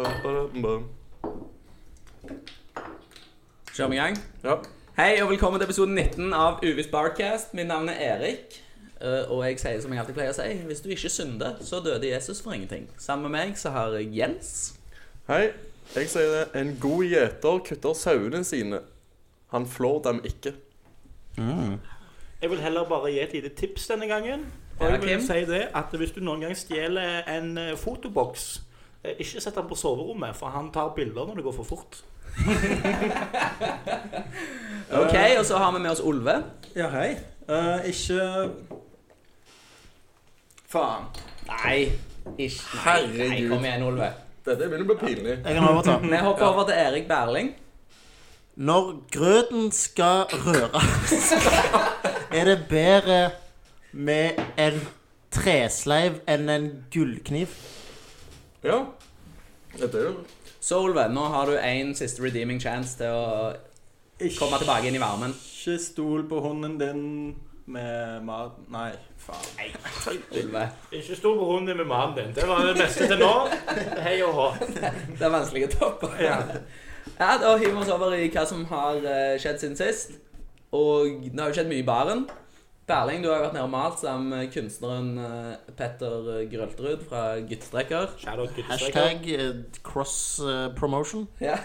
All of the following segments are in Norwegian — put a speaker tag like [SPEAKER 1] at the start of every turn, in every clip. [SPEAKER 1] Bare.
[SPEAKER 2] Kjør vi i gang?
[SPEAKER 1] Ja.
[SPEAKER 2] Hei og velkommen til episode 19 av Uvis Barcast. Mitt navn er Erik. eh, Og jeg sier som jeg alltid pleier å si, hvis du ikke synder, så døde Jesus for ingenting. Sammen med meg så har jeg Jens.
[SPEAKER 1] Hei. Jeg sier det. En god gjeter kutter sauene sine. Han flår dem ikke.
[SPEAKER 3] Jeg vil heller bare gi et lite tips denne gangen. Og
[SPEAKER 2] Ja,
[SPEAKER 3] jeg vil
[SPEAKER 2] Kim?
[SPEAKER 3] si det at Hvis du noen gang stjeler en eh, fotoboks, eh, ikke sett den på soverommet, for han tar bilder når det går for fort.
[SPEAKER 2] Ok, Og så har vi med oss Olve.
[SPEAKER 4] Ja, hei. Eh, ikke Faen.
[SPEAKER 2] Nei. Ikke. Nei, nei,
[SPEAKER 1] Herregud.
[SPEAKER 2] kom igjen, Olve.
[SPEAKER 1] Dette begynner å bli pinlig.
[SPEAKER 5] Jeg kan overta.
[SPEAKER 2] Vi hopper over til Erik Berling.
[SPEAKER 5] Når grøten skal røres, er det bedre med en tresleiv enn en gullkniv.
[SPEAKER 1] Ja. Dette er jo
[SPEAKER 2] Så Olve, nå har du én siste redeeming chance til å komme tilbake inn i varmen.
[SPEAKER 4] Ikke stol på hunden din med mat Nei, faen.
[SPEAKER 2] Olve.
[SPEAKER 3] Ikke stor på hunden med mannen din. Det var det beste til nå. Hei og hå.
[SPEAKER 2] Det er vanskelig å toppe. Ja. Da hiver vi oss over i hva som har eh, skjedd siden sist. Og det har jo skjedd mye i baren. Berling, du har jo vært nede og malt sammen med kunstneren eh, Petter Grølterud fra Guttstreker.
[SPEAKER 3] Shadow Good Striker.
[SPEAKER 5] Hashtag eh, cross eh, promotion.
[SPEAKER 2] Ja.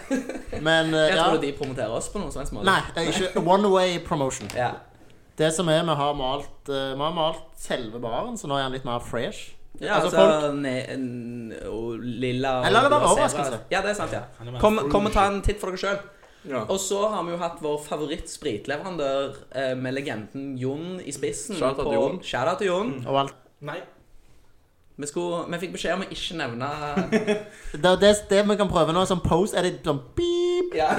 [SPEAKER 5] Men eh,
[SPEAKER 2] Jeg
[SPEAKER 5] ja.
[SPEAKER 2] tror de promoterer oss på noen slags måte.
[SPEAKER 5] Nei, eh, ikke one way promotion.
[SPEAKER 2] Ja.
[SPEAKER 5] Det som er, vi har malt, eh, vi har malt selve baren, så nå er den litt mer fresh.
[SPEAKER 2] Ja,
[SPEAKER 5] Altså,
[SPEAKER 2] altså, ne, n, og lilla og
[SPEAKER 5] Eller det var bare
[SPEAKER 2] blå zebra.
[SPEAKER 5] overraskelse.
[SPEAKER 2] Ja, det er sant, ja.
[SPEAKER 3] Han er bare
[SPEAKER 2] Kom, kom og ta en titt for dere sjøl.
[SPEAKER 1] ja.
[SPEAKER 2] Og så har vi jo hatt vår favoritt-spritleverandør eh, med legenden Jon i spissen.
[SPEAKER 1] Shout out til
[SPEAKER 2] på-
[SPEAKER 1] Jon.
[SPEAKER 2] Shout out til Jon.
[SPEAKER 5] Og alt.
[SPEAKER 3] Nei.
[SPEAKER 2] Vi, skulle, vi fikk beskjed om å ikke nevne
[SPEAKER 5] Det, det, det vi kan prøve nå, som pose, er litt sånn beep.
[SPEAKER 2] ja.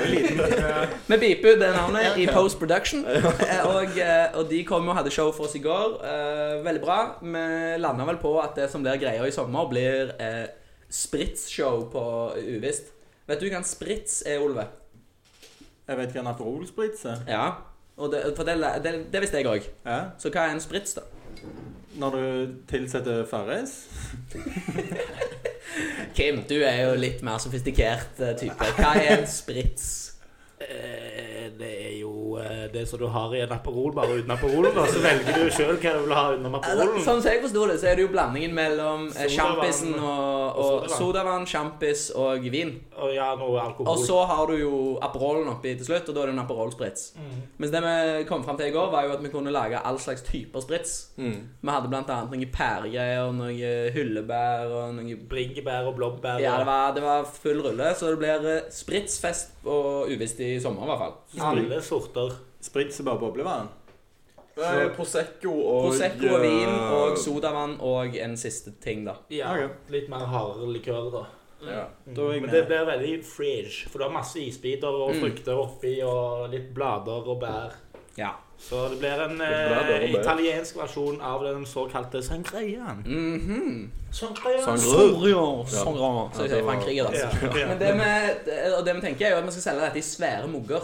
[SPEAKER 2] Vi beeper ut det navnet i Post Production. Eh, Og, eh, og de kom og hadde show for oss i går. Eh, Veldig bra. Vi landa vel på at det som blir greia i sommer, blir eh, Spritz-show på Uvisst. Vet du hva en spritz er, Olve?
[SPEAKER 4] Jeg vet hva en aperolspritz er.
[SPEAKER 2] Ja. Og det, for det, det, det visste jeg òg.
[SPEAKER 4] Ja.
[SPEAKER 2] Så hva er en spritz, da?
[SPEAKER 4] Når du tilsetter Farris.
[SPEAKER 2] Kim, du er jo litt mer sofistikert eh, type. Hva er en spritz?
[SPEAKER 3] Eh, Det er jo eh, det som du har i en Aperol, bare uten Aperolen. Og så velger du sjøl hva du vil ha utenom
[SPEAKER 2] Altså,
[SPEAKER 3] Aperolen.
[SPEAKER 2] sånn som jeg forsto det, så er det jo blandingen mellom eh,
[SPEAKER 3] Sodavann.
[SPEAKER 2] sjampisen og, og
[SPEAKER 3] Og sodavann.
[SPEAKER 2] sodavann, sjampis og vin.
[SPEAKER 3] Og ja, noe
[SPEAKER 2] Og
[SPEAKER 3] alkohol.
[SPEAKER 2] så har du jo Aperolen oppi til slutt, og da er det en Aperol-sprits.
[SPEAKER 3] Mm.
[SPEAKER 2] Mens det vi kom fram til i går, var jo at vi kunne lage all slags typer sprits.
[SPEAKER 1] Mm.
[SPEAKER 2] Vi hadde blant annet noen pæregreier, noen eh, hyllebær og noen
[SPEAKER 3] Bringebær og blåbær.
[SPEAKER 2] ja, det
[SPEAKER 3] og
[SPEAKER 2] var, det var full rulle, så det blir eh, spritsfest og uvisst i sommer, i hvert fall.
[SPEAKER 3] Alle sorter.
[SPEAKER 4] Spritz er bare boblevann.
[SPEAKER 1] Nei, Prosecco og
[SPEAKER 2] Prosecco og vin
[SPEAKER 1] eh,
[SPEAKER 2] og sodavann og en siste ting, da.
[SPEAKER 3] Ja,
[SPEAKER 4] Ok.
[SPEAKER 3] Litt mer hardere likør, da.
[SPEAKER 1] Ja.
[SPEAKER 4] Da er jeg
[SPEAKER 3] Men
[SPEAKER 4] med.
[SPEAKER 3] det blir veldig fresh, for du har masse isbiter og
[SPEAKER 2] Mm.
[SPEAKER 3] frukter oppi, og litt blader og bær.
[SPEAKER 2] Ja.
[SPEAKER 3] Så det blir en
[SPEAKER 1] blader og
[SPEAKER 3] eh,
[SPEAKER 1] bær.
[SPEAKER 3] italiensk versjon av den såkalte sangrean.
[SPEAKER 2] Mhm.
[SPEAKER 3] Sangrean.
[SPEAKER 1] Sangre.
[SPEAKER 2] Så vi sier Frankrike, da.
[SPEAKER 3] Ja, ja.
[SPEAKER 2] Men det vi, og det vi tenker er jo at vi skal selge dette i svære mugger.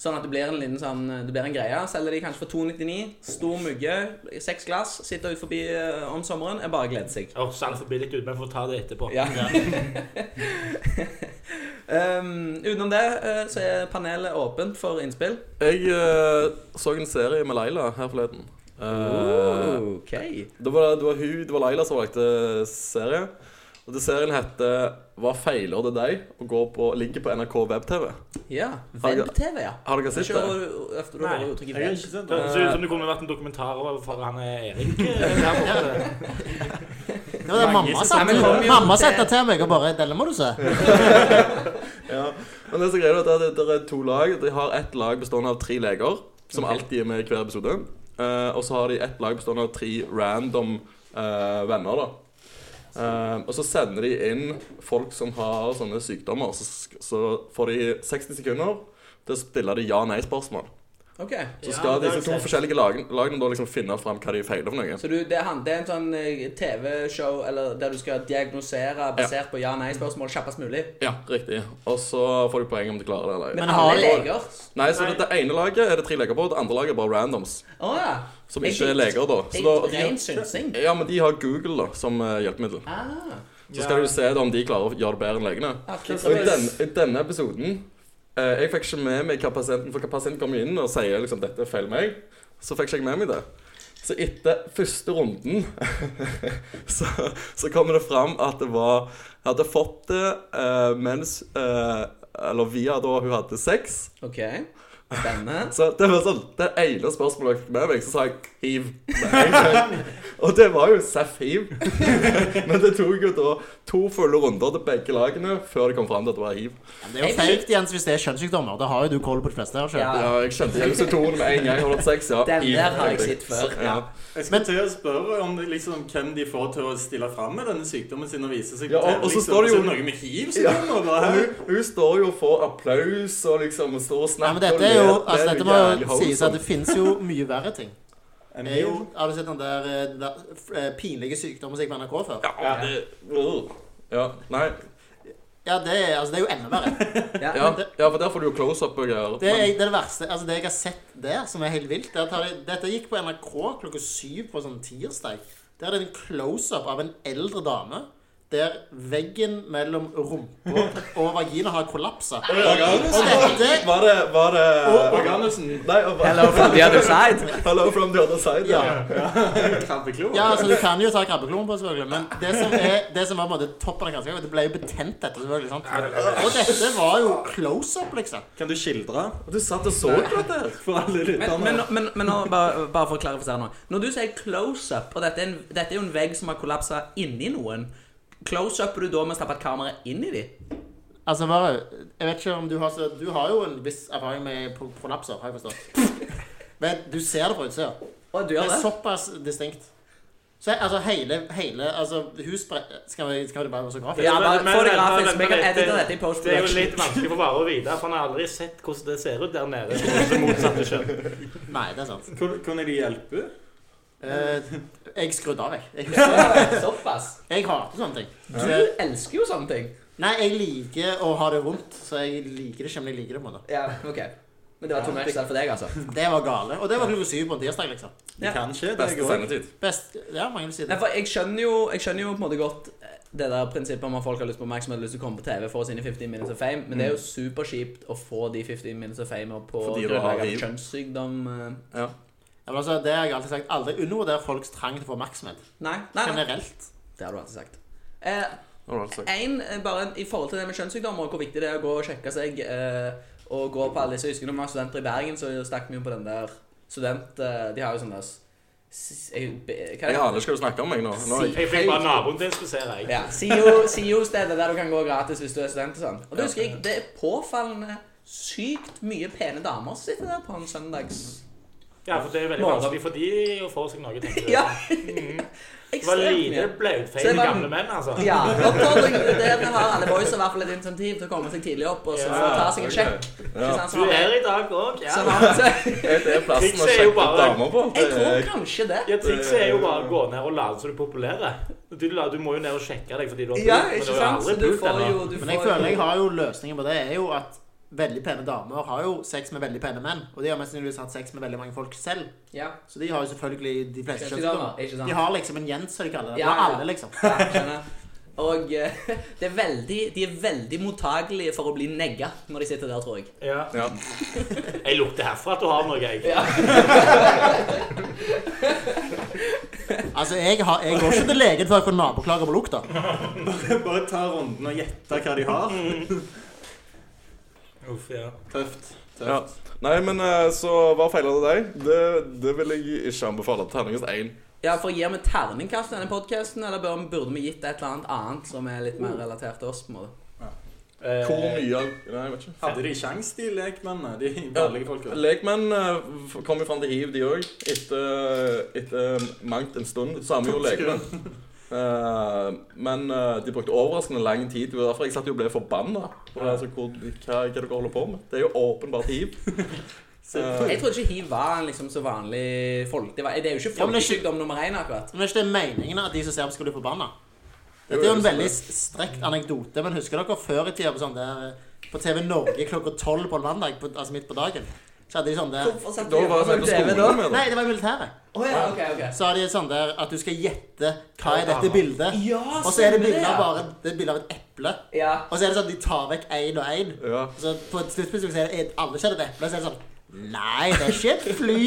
[SPEAKER 2] Sånn at det blir en liten sånn, det blir en greie. Selger de kanskje for 2,99. Stor mugge, seks glass. Sitter ut forbi eh, om sommeren. Jeg bare gleder seg.
[SPEAKER 3] Og salt forbi litt ut, men vi får ta det etterpå.
[SPEAKER 2] Ja. um, utenom det eh, så er panelet åpent for innspill.
[SPEAKER 1] Jeg eh, så en serie med Laila her forleden. Eh,
[SPEAKER 2] OK.
[SPEAKER 1] det, var, det var hun, det var Laila som valgte serie. Og det serien heter 'Hva feiler det deg?' og går på, ligger på NRK web-TV.
[SPEAKER 2] Ja. Web-TV, ja.
[SPEAKER 1] Har dere sett det?
[SPEAKER 2] Kjører du ofte du
[SPEAKER 3] Nei,
[SPEAKER 2] bare uttrykker
[SPEAKER 4] Jeg har
[SPEAKER 2] web?
[SPEAKER 4] ikke sånn. sett
[SPEAKER 3] Det
[SPEAKER 4] det.
[SPEAKER 3] høres ut som det kunne vært en dokumentar for han er Erik. Eh, Der borte.
[SPEAKER 5] Det var det
[SPEAKER 2] Nei, men kom
[SPEAKER 5] mamma
[SPEAKER 2] jo
[SPEAKER 5] satte Mamma
[SPEAKER 2] til-
[SPEAKER 5] satte til meg og bare 'Denne må du se'.
[SPEAKER 1] Ja. Men det som greier er at det, det er to lag. De har ett lag bestående av tre leger, som alltid er med i hver episode. Eh, og så har de ett lag bestående av tre random eh, venner, da. Eh, og så sender de inn folk som har sånne sykdommer. Så, sk- så får de 60 sekunder til å stille de ja-nei-spørsmål.
[SPEAKER 2] Ok.
[SPEAKER 1] Så
[SPEAKER 3] Ja,
[SPEAKER 1] skal
[SPEAKER 3] det har
[SPEAKER 1] disse
[SPEAKER 3] jeg
[SPEAKER 1] to
[SPEAKER 3] sett.
[SPEAKER 1] forskjellige lagene, lagene da liksom finne fram hva de feiler for noe.
[SPEAKER 2] Så du, det, er han, det er en sånn eh, TV-show eller der du skal diagnosere basert på ja-nei-spørsmål kjappest mulig?
[SPEAKER 1] Ja, riktig. Og så får de poeng om de klarer det eller ei.
[SPEAKER 2] Men
[SPEAKER 5] Men har-
[SPEAKER 2] alle leger? Å
[SPEAKER 1] Nei, så det, det ene laget er det tre leger på, og det andre laget er bare randoms.
[SPEAKER 2] ja.
[SPEAKER 1] Som ikke er leger, da.
[SPEAKER 2] Det
[SPEAKER 1] Så
[SPEAKER 2] er
[SPEAKER 1] da
[SPEAKER 2] ren synsing.
[SPEAKER 1] Ja, men de har Google da, som eh, hjelpemiddel.
[SPEAKER 2] Ah.
[SPEAKER 1] Så skal du se da om de klarer å gjøre det bedre enn legene. Og i den, i denne episoden eh, Jeg fikk ikke med meg hva pasienten For hva pasienten kommer inn og sier liksom, dette er feil meg. Så fikk ikke jeg med meg det. Så etter første runden så, så kommer det fram at det var Jeg hadde fått det eh, mens eh, Eller via da hun hadde sex.
[SPEAKER 2] OK. Spennende.
[SPEAKER 1] Så det var sånn Det ene spørsmålet jeg fikk med meg, så sa jeg hiv. med en gang. Og det var jo seff hiv. Men det tok jo da to fulle runder til begge lagene før det kom fram til at det var hiv.
[SPEAKER 5] Men Det er jo fake, Jens, hvis det er kjønnssykdommer. Da har jo du koll på de fleste
[SPEAKER 2] Ja.
[SPEAKER 5] her selv.
[SPEAKER 1] Ja, jeg kjente igjen symptomene med en gang jeg har hatt sex. Ja,
[SPEAKER 2] Den
[SPEAKER 1] hiv,
[SPEAKER 2] der har jeg
[SPEAKER 1] tenkte
[SPEAKER 2] sett før.
[SPEAKER 1] Så-
[SPEAKER 2] Ja.
[SPEAKER 4] Jeg skal til å spørre om det, liksom, hvem de får til å stille fram med denne sykdommen sin og vise seg
[SPEAKER 1] Ja, og- og
[SPEAKER 4] til,
[SPEAKER 1] så
[SPEAKER 4] liksom,
[SPEAKER 1] står det jo-
[SPEAKER 4] og så er noe med hiv som
[SPEAKER 1] Ja.
[SPEAKER 4] kommer.
[SPEAKER 1] Og
[SPEAKER 4] bare,
[SPEAKER 1] hun, hun står jo og får applaus og liksom står og
[SPEAKER 5] Nei,
[SPEAKER 1] snakker
[SPEAKER 5] men dette er jo
[SPEAKER 1] og ler.
[SPEAKER 5] altså,
[SPEAKER 1] Det er
[SPEAKER 5] Dette må
[SPEAKER 1] jævlig
[SPEAKER 5] jo sies at det finnes jo mye verre ting.
[SPEAKER 4] En
[SPEAKER 5] Det er jo,
[SPEAKER 4] hiv?
[SPEAKER 5] Har du sett den der, eh, den der eh, pinlige sykdommen som gikk på NRK før?
[SPEAKER 1] Ja, det, øh. ja, nei,
[SPEAKER 5] Ja, det er, altså, det er jo enda verre.
[SPEAKER 2] Ja.
[SPEAKER 1] ja, ja, for der får du jo close-up og greier.
[SPEAKER 5] Det er det, er det verste. Altså, det jeg har sett der, som er helt vilt det er at har de- Dette gikk på NRK klokka syv på sånn tirsdag. Der er det en close-up av en eldre dame der veggen mellom rumpa og vagina har kollapsa.
[SPEAKER 1] Men-
[SPEAKER 5] Og dette
[SPEAKER 1] Var det, var det
[SPEAKER 4] Organussen.
[SPEAKER 1] Nei, og-
[SPEAKER 2] Hello from the other side.
[SPEAKER 1] Hello from the other side.
[SPEAKER 5] Ja.
[SPEAKER 4] Krabbeklo?
[SPEAKER 5] Ja, altså Du kan jo ta krabbekloen på, selvfølgelig. Men det som, er, det som var på en måte toppen av granskingen, det ble jo betent, dette. selvfølgelig, sant? Og dette var jo close up, liksom.
[SPEAKER 4] Kan du skildre
[SPEAKER 1] Du satt og så på dette. her.
[SPEAKER 4] for alle
[SPEAKER 2] Men,
[SPEAKER 4] lytterne?
[SPEAKER 2] men, men, men nå, bare, bare for å klarifisere nå. Når du sier close-up, og dette er, en, dette er jo en vegg som har kollapsa inni noen, close-upper du da med å stappe et kamera inn i de?
[SPEAKER 5] Altså, bare, jeg vet ikke om Du har så, Du har jo en viss erfaring med pro- prolapser, har jeg forstått. Men du ser det fra utsida.
[SPEAKER 2] Å, du
[SPEAKER 5] Det
[SPEAKER 2] gjør
[SPEAKER 5] er
[SPEAKER 2] det?
[SPEAKER 5] såpass distinkt. Så jeg- altså hele, hele altså, hus skal, vi, skal det bare være så grafisk?
[SPEAKER 2] Ja, bare
[SPEAKER 3] Men-
[SPEAKER 2] få det
[SPEAKER 3] men-
[SPEAKER 2] grafisk. Vi
[SPEAKER 3] men- men-
[SPEAKER 2] kan edite
[SPEAKER 3] det-
[SPEAKER 2] dette i
[SPEAKER 3] Det er jo litt
[SPEAKER 2] post-production.
[SPEAKER 3] vanskelig for Vare å vite, for han har aldri sett hvordan det ser ut der nede. Det motsatte kjønn.
[SPEAKER 5] Nei, det er sant.
[SPEAKER 4] Kun- Kunne de hjelpe?
[SPEAKER 5] Eh, jeg skrudde av, jeg. Jeg,
[SPEAKER 2] Såpass.
[SPEAKER 5] jeg hater sånne ting.
[SPEAKER 2] Du
[SPEAKER 5] Så,
[SPEAKER 2] elsker jo sånne ting.
[SPEAKER 5] nei, jeg liker å ha det vondt, så jeg liker det ikke, men jeg liker det på en måte.
[SPEAKER 2] Ja, ok. Men det var too much selv for deg, altså.
[SPEAKER 5] Det var gale. Og det var klokka syv på en tirsdag, liksom.
[SPEAKER 4] Det
[SPEAKER 2] Ja.
[SPEAKER 4] kan skje, det
[SPEAKER 1] Beste
[SPEAKER 4] går.
[SPEAKER 1] sendetid.
[SPEAKER 5] Best, ja, mange vil si
[SPEAKER 2] Nei,
[SPEAKER 5] det.
[SPEAKER 2] for jeg skjønner jo Jeg skjønner jo på en måte godt eh, det der prinsippet om at folk har lyst på oppmerksomhet og lyst til å komme på TV for sine 15 minutes of fame, men det er jo superkjipt å få de 15 minutes of fame og på
[SPEAKER 1] Fordi du har
[SPEAKER 2] grunnlag av
[SPEAKER 1] hiv.
[SPEAKER 2] kjønnssykdom eh.
[SPEAKER 1] Ja.
[SPEAKER 5] Ja, men altså, det har jeg alltid sagt. Aldri undervurder folks trang til å få oppmerksomhet.
[SPEAKER 2] Nei, nei, nei.
[SPEAKER 5] Generelt.
[SPEAKER 2] Det har du alltid sagt. Eh,
[SPEAKER 1] Har du alt sagt.
[SPEAKER 2] en, eh, bare I forhold til det med kjønnssykdommer og hvor viktig det er å gå og sjekke seg eh, og gå på alle disse Jeg husker når vi var studenter i Bergen, så stakk vi jo på den der student... Eh, de har jo sånn der s- s- jeg- be- Hva er
[SPEAKER 1] Jeg
[SPEAKER 2] det?
[SPEAKER 1] aner ikke hva du snakker om, jeg nå. nå er jeg.
[SPEAKER 3] Jeg fikk bare naboen til å inspisere, jeg.
[SPEAKER 2] Ja, SIO- SIO-stedet der du kan gå gratis hvis du er student og sånn. Og da husker jeg, det er påfallende sykt mye pene damer som sitter der på en søndags...
[SPEAKER 3] Ja, for det er veldig
[SPEAKER 2] Morgen.
[SPEAKER 3] vanskelig for de å få seg noe, tenker du.
[SPEAKER 2] Ja,
[SPEAKER 3] Mhm. Det
[SPEAKER 2] ekstremt
[SPEAKER 3] var
[SPEAKER 2] mye.
[SPEAKER 3] lite
[SPEAKER 2] Så det
[SPEAKER 3] blautfeil
[SPEAKER 2] var-
[SPEAKER 3] gamle menn, altså.
[SPEAKER 2] Ja, oppfordringen til dere har alle boys i hvert fall et insentiv til å komme seg tidlig opp og så
[SPEAKER 3] Ja,
[SPEAKER 2] få ta seg en sjekk.
[SPEAKER 1] Ja.
[SPEAKER 2] Ikke sant, Sånn så
[SPEAKER 3] Du
[SPEAKER 2] har-
[SPEAKER 3] er i dag òg,
[SPEAKER 2] så
[SPEAKER 3] ja.
[SPEAKER 2] har- så-
[SPEAKER 1] Det er plassen å
[SPEAKER 3] Trikset er jo
[SPEAKER 1] sjekke
[SPEAKER 3] bare-
[SPEAKER 1] damer på.
[SPEAKER 2] sånn Jeg
[SPEAKER 1] Det
[SPEAKER 2] tror
[SPEAKER 1] er-
[SPEAKER 2] kanskje det.
[SPEAKER 3] Ja, Trikset er jo bare å gå ned og late som du er populær. Du, du må jo ned og sjekke deg fordi du har
[SPEAKER 2] Ja,
[SPEAKER 3] pult, men
[SPEAKER 2] ikke
[SPEAKER 3] du har
[SPEAKER 2] sant?
[SPEAKER 3] aldri
[SPEAKER 2] Så du
[SPEAKER 3] pult
[SPEAKER 2] får
[SPEAKER 3] ennå.
[SPEAKER 2] jo du
[SPEAKER 5] Men jeg
[SPEAKER 2] får
[SPEAKER 5] føler
[SPEAKER 2] jo-
[SPEAKER 5] jeg har jo løsningen på det, er jo at veldig pene damer har jo sex med veldig pene menn. Og de har mest sannsynligvis hatt sex med veldig mange folk selv.
[SPEAKER 2] Ja,
[SPEAKER 5] Så de har jo selvfølgelig de fleste
[SPEAKER 2] kjønnssykdommer,
[SPEAKER 5] kjønnssykdommer.
[SPEAKER 2] ikke sant?
[SPEAKER 5] De har liksom en Jens, som de kaller det.
[SPEAKER 2] Ja,
[SPEAKER 5] Ja,
[SPEAKER 2] ja.
[SPEAKER 5] alle, liksom.
[SPEAKER 2] Ja, skjønner. Og eh, det er veldig, de er veldig mottagelige for å bli negga når de sitter der, tror jeg.
[SPEAKER 3] Ja.
[SPEAKER 1] Ja.
[SPEAKER 3] Jeg lukter herfra at du har noe, jeg.
[SPEAKER 2] Ja.
[SPEAKER 5] Altså, jeg, har, jeg går ikke til legen før jeg får naboklager på lukta.
[SPEAKER 4] Bare ta runden og gjette hva de har.
[SPEAKER 3] Uff, ja.
[SPEAKER 4] Tøft. tøft.
[SPEAKER 1] Ja. Nei, men eh, så hva feiler det deg? Det, det vil jeg ikke anbefale. Terningkast én.
[SPEAKER 2] Ja, for gir vi terningkast til denne podkasten, eller bør- burde vi gitt et eller annet annet som er litt
[SPEAKER 5] Oh.
[SPEAKER 2] mer relatert til oss? på en måte?
[SPEAKER 3] Eh,
[SPEAKER 1] Hvor mye av Nei, jeg vet ikke.
[SPEAKER 4] Hadde de sjans, de lekmennene? De vanlige folka?
[SPEAKER 1] Lekmenn eh, kom jo fram til hiv, de òg. Etter, etter mangt en stund. Samme jo legemenn. Eh, men eh, de brukte overraskende lang tid. Det var derfor jeg satt jo og ble forbanna. For altså, hvor, hva, hva dere holder på med? Det er jo åpenbart hiv.
[SPEAKER 2] Jeg trodde ikke hiv var en liksom så vanlig folk... Det, var, det er jo ikke
[SPEAKER 5] Ja, men det er ikke-
[SPEAKER 2] folkesykdom nummer én, akkurat.
[SPEAKER 5] Men er ikke det meningen at de som ser på, skal bli forbanna? Dette er jo en veldig strekt anekdote, men husker dere før i tida på sånn der eh, på TV Norge klokka tolv på en mandag, på, altså midt på dagen? Så hadde de sånn der
[SPEAKER 2] Hvorfor satt
[SPEAKER 1] Da
[SPEAKER 2] du
[SPEAKER 1] var jeg på
[SPEAKER 2] sånn TV da?
[SPEAKER 1] skolen med det.
[SPEAKER 5] Nei, det var i militæret.
[SPEAKER 2] Å ja, ok, ok.
[SPEAKER 5] Så har de sånn der at du skal gjette hva er dette bildet.
[SPEAKER 2] Ja,
[SPEAKER 5] Og så er det
[SPEAKER 2] stemmer
[SPEAKER 5] bilde av
[SPEAKER 2] ja.
[SPEAKER 5] bare Det er bilde av et eple.
[SPEAKER 2] Ja.
[SPEAKER 5] Og så er det sånn at de tar vekk én og én.
[SPEAKER 1] Ja.
[SPEAKER 5] Og så på et sluttpunkt så er det alle kjenner et eple, så er det sånn Nei, det er ikke et fly!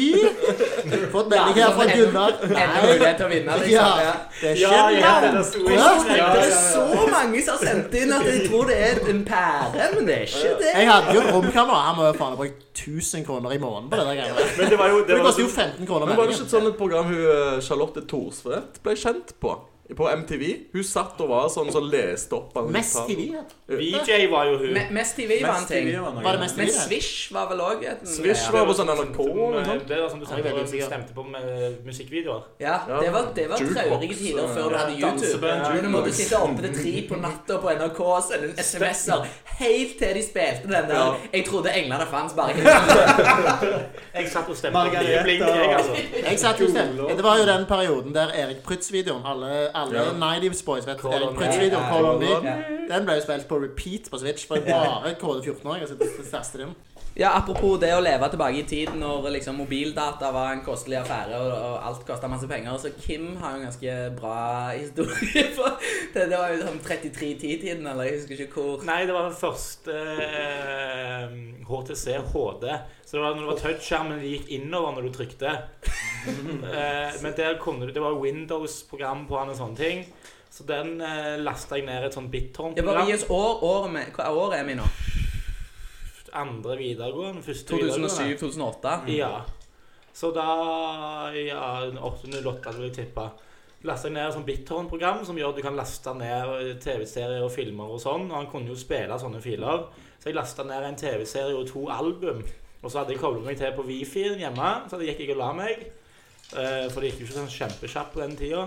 [SPEAKER 5] Fått melding her fra Gunnar.
[SPEAKER 2] En
[SPEAKER 5] Nei.
[SPEAKER 2] mulighet til å vinne,
[SPEAKER 5] Ja,
[SPEAKER 2] liksom. Ja.
[SPEAKER 5] det er
[SPEAKER 4] Ja,
[SPEAKER 5] ikke et
[SPEAKER 4] ja,
[SPEAKER 5] navn.
[SPEAKER 4] det sto
[SPEAKER 5] Ja.
[SPEAKER 4] ikke ja,
[SPEAKER 2] Det
[SPEAKER 4] ja,
[SPEAKER 2] er
[SPEAKER 4] ja.
[SPEAKER 2] så mange som har sendt inn at de tror det er en pære, men det er ikke det.
[SPEAKER 5] Jeg hadde jo et romkamera. Han må jo faen ha brukt 1000 kroner i måneden på det der greiene. der.
[SPEAKER 4] Men det var jo det
[SPEAKER 5] Det
[SPEAKER 4] var
[SPEAKER 5] koster jo 15 kroner
[SPEAKER 1] Men var det ikke
[SPEAKER 5] meldingen.
[SPEAKER 1] et sånt et program hun eh, Charlotte Thorsvedt ble kjent på? På MTV? Hun satt og var sånn som leste opp alle
[SPEAKER 5] Mest
[SPEAKER 1] tallene.
[SPEAKER 5] TV. heter det.
[SPEAKER 3] VJ var jo hun.
[SPEAKER 2] Me- Mest TV var en
[SPEAKER 4] Mest
[SPEAKER 2] ting.
[SPEAKER 4] TV var noe.
[SPEAKER 5] Var det mest
[SPEAKER 2] Men
[SPEAKER 5] TV? heter det?
[SPEAKER 2] Swish var vel òg et
[SPEAKER 1] Swish
[SPEAKER 2] ja.
[SPEAKER 1] var på sånn NRK. eller noe sånt.
[SPEAKER 3] Det var sånn du
[SPEAKER 5] Jeg er veldig
[SPEAKER 3] stemte,
[SPEAKER 5] usikker.
[SPEAKER 3] stemte på med musikkvideoer.
[SPEAKER 2] Ja, det var, det var
[SPEAKER 1] Jukebox, eh,
[SPEAKER 2] traurige tider før du hadde
[SPEAKER 4] ja,
[SPEAKER 2] YouTube.
[SPEAKER 4] danseband,
[SPEAKER 2] Men du måtte
[SPEAKER 4] jukebox.
[SPEAKER 2] sitte oppe til tre på natta på NRK og sende en SMS-er helt til de spilte den
[SPEAKER 1] Ja.
[SPEAKER 2] der 'Jeg trodde englene fantes, bare ikke
[SPEAKER 3] Jeg satt og stemte på
[SPEAKER 4] Margareta.
[SPEAKER 3] Blink, jeg, altså.
[SPEAKER 5] Jeg satt jo selv. Det var jo den perioden der Erik Prytz-videoen Alle, alle
[SPEAKER 1] Ja.
[SPEAKER 5] 90s boys vet
[SPEAKER 3] Call
[SPEAKER 5] Erik
[SPEAKER 3] on
[SPEAKER 5] Prytz-videoen.
[SPEAKER 2] me.
[SPEAKER 5] Call on
[SPEAKER 1] Ja.
[SPEAKER 5] me. Den ble jo spilt på repeat på Switch. For bare KD14-åringer som stasset den.
[SPEAKER 2] Ja, apropos det å leve tilbake i tid når liksom mobildata var en kostelig affære og, og alt kosta masse penger, så Kim har jo en ganske bra historie på det. Det var jo sånn 3310-tiden, eller jeg husker ikke hvor.
[SPEAKER 3] Nei, det var den første eh, HTC HD. Så det var når det var touchskjermen det gikk innover når du trykte. Eh, men der kunne du Det var Windows-program på den og sånne ting. Så den eh, lasta jeg ned et sånn
[SPEAKER 2] Ja, bare gi
[SPEAKER 3] BitTorn-program.
[SPEAKER 2] oss år, året med, hva år er vi nå?
[SPEAKER 3] Andre videregående. Første videregående.
[SPEAKER 2] 2007-2008?
[SPEAKER 3] Ja. Så da Ja, 808 vil jeg tippe. Lasta jeg ned et sånt BitTorrent-program som gjør at du kan laste ned TV-serier og filmer og sånn. Og han kunne jo spille sånne filer. Så jeg lasta ned en TV-serie og to album. Og så hadde jeg koblet meg til på Wifi-en hjemme, så gikk jeg og la meg. Eh, for det gikk jo ikke sånn kjempekjapt på den tida.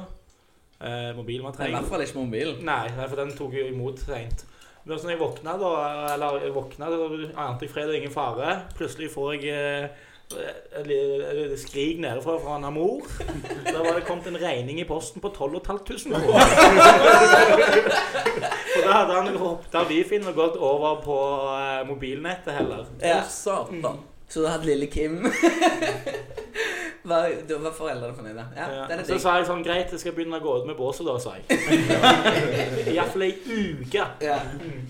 [SPEAKER 3] Eh, mobilen var
[SPEAKER 2] Nei, I
[SPEAKER 3] treg.
[SPEAKER 2] hvert fall ikke mobilen.
[SPEAKER 3] Nei, nei, for den tok jo imot sent. Men så når jeg våkna, da, eller jeg våkna, da ante jeg fred og ingen fare. Plutselig får jeg eh, et li- et lite skrik nedenfra fra en mor. Da var det kommet en regning i posten på 12 500 kroner. Og da hadde han hoppet av Wifien og gått over på eh, mobilnettet heller.
[SPEAKER 2] Ja. Mm.
[SPEAKER 1] Satan.
[SPEAKER 2] Så du hadde lille Kim. var, da var foreldrene fornøyde. Ja,
[SPEAKER 3] Ja.
[SPEAKER 2] den er
[SPEAKER 3] Så
[SPEAKER 2] digg.
[SPEAKER 3] sa jeg sånn Greit, jeg skal begynne å gå ut med båset, da, sa jeg. Iallfall ei uke.
[SPEAKER 2] Ja.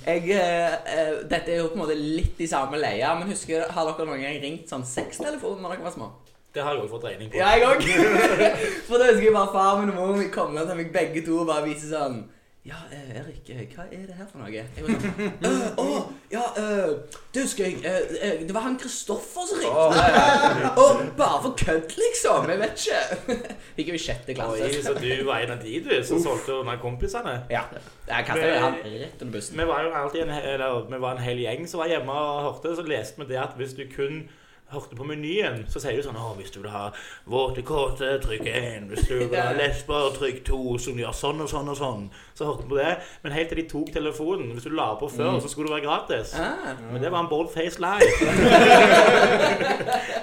[SPEAKER 2] Jeg, eh, eh, dette er jo på en måte litt i samme leia, men husker, har dere noen gang ringt sånn sextelefon når dere var små?
[SPEAKER 3] Det har jeg òg fått regning på.
[SPEAKER 2] Ja, jeg òg. For da husker jeg bare far min og mor min kom ned til meg begge to og bare viste sånn Ja, eh, Erik, eh, hva er det her for noe? Jeg var sånn «Øh, Å, ja, eh, du husker jeg eh, eh, Det var han Kristoffer som ringte. Og bare for kødd, liksom. Jeg vet ikke. Fikk jo i sjette klasse.
[SPEAKER 3] Oi, så du var en av de du som solgte unna kompisene?
[SPEAKER 2] Ja. Jeg kastet jo han rett under bussen.
[SPEAKER 3] Vi var jo alltid en, he- eller, vi var en hel gjeng som var hjemme og hørte, så leste vi det at hvis du kun hørte på menyen, så sier du sånn «Å, hvis du vil ha våte kåte, trykk 1. Hvis du vil ha lesber, trykk 2. Som gjør sånn og sånn og sånn. Så hørte vi på det. Men helt til de tok telefonen. Hvis du la på før, så skulle det være gratis.
[SPEAKER 2] Mm. Ah.
[SPEAKER 3] Men det var en bold face live.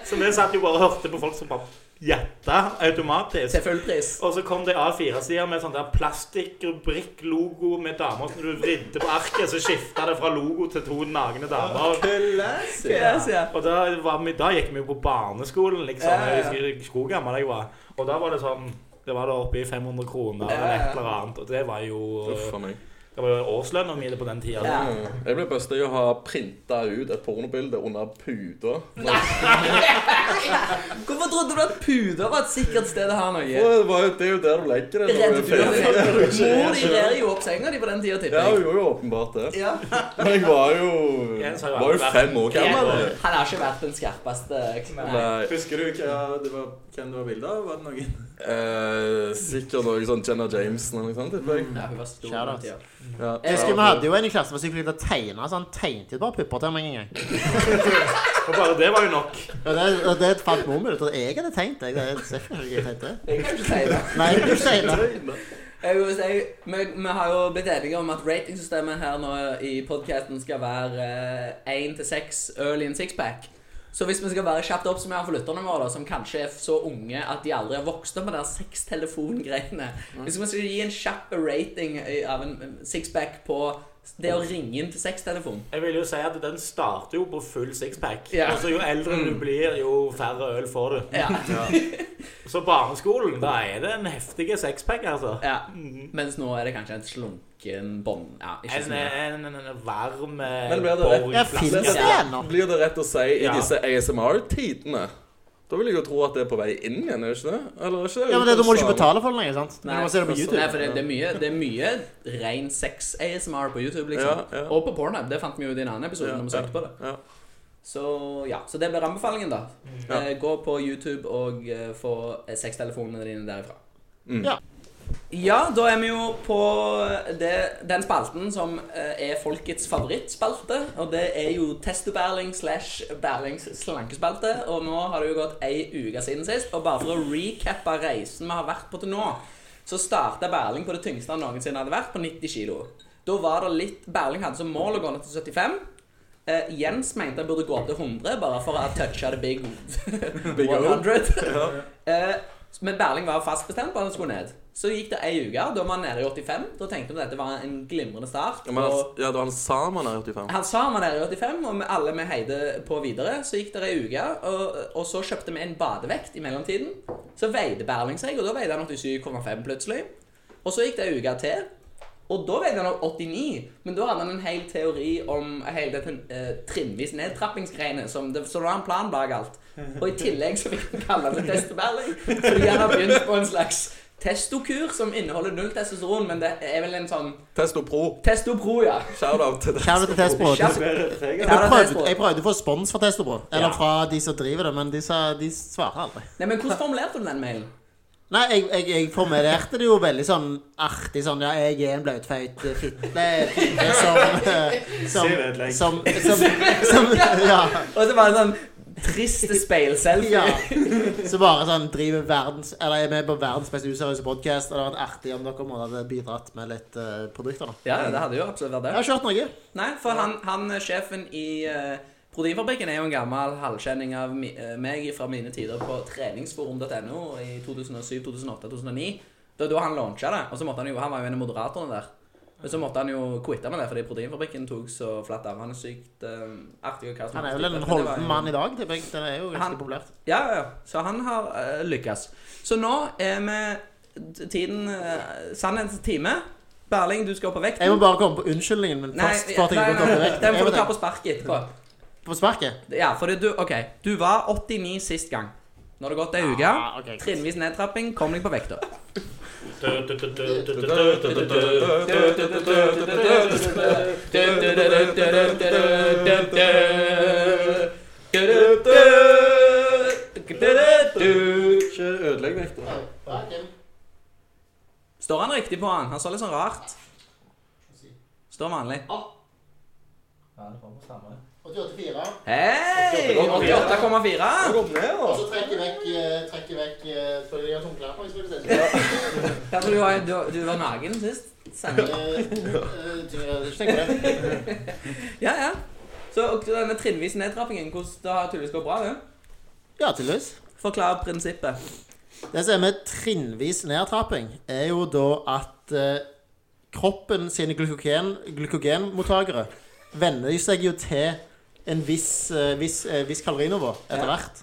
[SPEAKER 3] så vi satt jo bare og hørte på folk som bare gjetta automatisk.
[SPEAKER 2] Til full pris.
[SPEAKER 3] Og så kom det A4-sider med sånn der plastikkrubrikk-logo med damer. Så når du vridde på arket, så skifta det fra logo til to nagne damer.
[SPEAKER 4] Classic.
[SPEAKER 2] Ja, sier jeg.
[SPEAKER 3] Og da, var vi, da gikk vi jo på barneskolen, liksom.
[SPEAKER 2] Ja, ja, ja.
[SPEAKER 3] Jeg husker ikke hvor gammel jeg var. Og da var det sånn Det var da oppe i 500 kroner eller et eller annet. Og det var jo
[SPEAKER 1] Uff a meg.
[SPEAKER 3] Det var jo årslønna mi på den tida.
[SPEAKER 2] Ja.
[SPEAKER 1] Jeg ble busta i å ha printa ut et pornobilde under puta.
[SPEAKER 2] Hvorfor trodde du at puter var et sikkert sted å ha noe?
[SPEAKER 1] Og Det, var jo- det er jo der du legger det.
[SPEAKER 2] Redder
[SPEAKER 1] Når
[SPEAKER 2] du
[SPEAKER 1] du er ferdig.
[SPEAKER 2] deg? Mor de rer jo opp senga di på den tida,
[SPEAKER 1] Ja,
[SPEAKER 2] tipper
[SPEAKER 1] hun
[SPEAKER 2] jeg.
[SPEAKER 1] gjorde jo åpenbart det.
[SPEAKER 2] Ja.
[SPEAKER 1] Men jeg var jo,
[SPEAKER 3] Ja, så har jeg
[SPEAKER 1] var jo
[SPEAKER 3] vært-
[SPEAKER 1] fem år gammel.
[SPEAKER 2] Han har ikke vært den skarpeste Nei.
[SPEAKER 1] Nei.
[SPEAKER 4] Husker du hva det var, hvem det var bilde av? Var det noen?
[SPEAKER 1] Eh, sikkert noe sånn Jenna Jameson eller noe sånt. tipper jeg.
[SPEAKER 2] Ja, hun var stor.
[SPEAKER 5] Shout
[SPEAKER 2] på
[SPEAKER 5] out.
[SPEAKER 2] den tiden.
[SPEAKER 1] Ja.
[SPEAKER 5] Jeg husker vi hadde jo en i klassen som var så flink til å tegne, så han tegnet jo bare pupper til meg en gang.
[SPEAKER 3] Og bare det var jo nok.
[SPEAKER 5] Og det, og det falt mor min ut, og jeg hadde tegnet det. Jeg ser ikke at jeg tegnte det.
[SPEAKER 2] Jeg kan jo ikke si det.
[SPEAKER 5] Nei, du tegnet.
[SPEAKER 2] Jeg vil si, vi, vi har jo blitt enige om at ratingsystemet her nå i podcasten skal være én til seks øl i en sixpack. Så hvis vi skal være kjapt oppsummert for lytterne våre, da, som kanskje er så unge at de aldri har vokst opp med de der
[SPEAKER 5] Mm.
[SPEAKER 2] eh, sextelefongreiene Hvis vi skal gi en kjapp rating i- av en sixpack på Det å ringe inn til sextelefon.
[SPEAKER 3] Jeg vil jo si at den starter jo på full sixpack.
[SPEAKER 2] Ja. Mm.
[SPEAKER 3] Altså, jo eldre du blir, jo færre øl får du.
[SPEAKER 2] Ja.
[SPEAKER 3] Så barneskolen, da er det en heftig sixpack, altså.
[SPEAKER 2] ja. Mens nå er det kanskje en slunken bånd... Ja, ikke så
[SPEAKER 3] En,
[SPEAKER 2] mye.
[SPEAKER 3] en, en, en varm eh,
[SPEAKER 1] Men blir det rett-
[SPEAKER 5] Jeg finnes det
[SPEAKER 2] Ja.
[SPEAKER 5] ennå.
[SPEAKER 1] Blir det rett å si i
[SPEAKER 3] Ja.
[SPEAKER 1] disse ASMR-tidene? Da vil jeg jo tro at det er på vei inn igjen, er det ikke det? Eller er ikke det?
[SPEAKER 5] Ja, men det, Da må du ikke
[SPEAKER 1] Samme-
[SPEAKER 5] betale for den lenger, sant? Du
[SPEAKER 2] Nei,
[SPEAKER 5] må se det på
[SPEAKER 1] altså,
[SPEAKER 5] YouTube.
[SPEAKER 2] Nei, for det, det, er mye, det er mye ren sex-ASMR på YouTube, liksom.
[SPEAKER 1] Ja, ja.
[SPEAKER 2] Og på Pornhub. Det fant vi jo i en annen episode
[SPEAKER 1] Ja,
[SPEAKER 2] når vi søkte på det.
[SPEAKER 1] Ja.
[SPEAKER 2] Så ja, så det blir anbefalingen, da. Eh, gå på YouTube og eh, få sextelefonene dine derifra.
[SPEAKER 1] Mm.
[SPEAKER 5] Ja.
[SPEAKER 2] Ja, da er vi jo på det, den spalten som eh, er folkets favorittspalte. Og det er jo Testoberling slash Berlings slankespalte. Og nå har det jo gått ei uke siden sist. Og bare for å recappe reisen vi har vært på til nå, så starta Berling på det tyngste han noensinne hadde vært, på 90 kg. Da var det litt Berling hadde som mål å gå ned til 75. Eh, Jens mente han burde gå opp til 100 bare for å touche the big,
[SPEAKER 1] Big O.
[SPEAKER 2] 100. Eh, men Berling var fast bestemt på at han skulle ned. Så gikk det ei uke, da var han nede i 85. Da tenkte vi at dette var en glimrende start.
[SPEAKER 1] Ja, men han,
[SPEAKER 2] og
[SPEAKER 1] ja, det var han sammen her 85.
[SPEAKER 2] han sa han var nede i 85, og vi alle vi heide på videre. Så gikk det ei uke, og, og så kjøpte vi en badevekt i mellomtiden. Så veide Berling seg, og da veide han 87,5 plutselig. Og så gikk det ei uke til. Og da veide han 89, men da hadde han en hel teori om hele dette eh, trinnvis nedtrappingsgreiene. som det- Så det var en plan bak alt. Og i tillegg så fikk han kalle det testoberling. Fordi han har begynt på en slags testokur som inneholder null testosteron, men det er vel en sånn
[SPEAKER 1] Testo Pro.
[SPEAKER 2] testopro, ja.
[SPEAKER 1] Shout-out til det.
[SPEAKER 5] Kjære til Testbro.
[SPEAKER 2] Kjære-
[SPEAKER 5] Jeg prøvde,
[SPEAKER 2] Testbro.
[SPEAKER 5] jeg prøvde å få spons fra Testobro, eller
[SPEAKER 2] Ja.
[SPEAKER 5] fra de som driver det, men de, sa, de svarer aldri.
[SPEAKER 2] Nei, men hvordan formulerte du den mailen?
[SPEAKER 5] Nei, jeg, jeg, jeg formulerte det jo veldig sånn artig sånn Ja, jeg er en blautfeit eh, fitte fitte som, eh, som
[SPEAKER 4] Sivedlegg.
[SPEAKER 5] Som, som, som Ja.
[SPEAKER 2] Og så var det sånn trist speilselfie.
[SPEAKER 5] ja. Så bare sånn driver verdens Eller er med på verdens mest useriøse podkast, og det hadde vært artig om dere måtte hadde bidratt med litt eh, produkter, da.
[SPEAKER 2] Ja, det hadde jo absolutt vært det.
[SPEAKER 5] Jeg har kjørt noe.
[SPEAKER 2] Nei, for han, han eh, sjefen i eh, Proteinfabrikken er jo en gammel halvkjenning av mi, eh, meg fra mine tider på treningsforum.no i 2007, 2008, 2009. Det var da han launcha det. Og så måtte han jo, han var jo en av moderatorene der. Men så måtte han jo quitte med det fordi Proteinfabrikken tok så flatt av. Han er sykt eh, artig og karismatisk.
[SPEAKER 5] Han er vel
[SPEAKER 2] Men
[SPEAKER 5] en
[SPEAKER 2] det var
[SPEAKER 5] holden
[SPEAKER 2] jo-
[SPEAKER 5] mann i dag. Det er- det er jo
[SPEAKER 2] Han-
[SPEAKER 5] ganske populært.
[SPEAKER 2] ja, ja, ja. Så han har eh, lykkes. Så nå er vi tiden uh, Sannhetens time. Berling, du skal opp på vekten.
[SPEAKER 5] Jeg må bare komme på unnskyldningen min
[SPEAKER 2] Nei,
[SPEAKER 5] først. for at jeg
[SPEAKER 2] nei,
[SPEAKER 5] ikke
[SPEAKER 2] nei,
[SPEAKER 5] kom
[SPEAKER 2] nei,
[SPEAKER 5] direkte.
[SPEAKER 2] den
[SPEAKER 5] Jeg
[SPEAKER 2] får
[SPEAKER 5] må
[SPEAKER 2] du ta
[SPEAKER 5] tenke-
[SPEAKER 2] på sparket etterpå.
[SPEAKER 5] På sparket?
[SPEAKER 2] Ja, fordi du, ok, du var 89 sist gang. Nå har det gått ei uke.
[SPEAKER 5] Ah, ok, greit.
[SPEAKER 2] Trinnvis nedtrapping. Kom deg på vekta.
[SPEAKER 4] Ikke ødelegg vekta.
[SPEAKER 2] Står han riktig på han? Han står litt sånn rart. Står vanlig. Hei! 88,4.
[SPEAKER 5] Og så trekker jeg vekk, eh, trekker jeg vekk eh, fordi jeg har tomme klær på. Jeg skulle si. sånn.
[SPEAKER 2] Ja, for du, var, du, du var naken sist. Stemmer.
[SPEAKER 5] Eh, eh, du, eh, Ikke tenk på det.
[SPEAKER 2] Ja, ja. Så og denne trinnvis nedtrappingen, hvordan det har tydeligvis gått bra, det.
[SPEAKER 5] Ja, tydeligvis.
[SPEAKER 2] Forklar prinsippet.
[SPEAKER 5] Det som er med trinnvis nedtrapping, er jo da at eh, kroppen sine glykogen, glykogenmottakere venner seg jo til en viss, eh, viss, eh, viss kalorinivå etter hvert.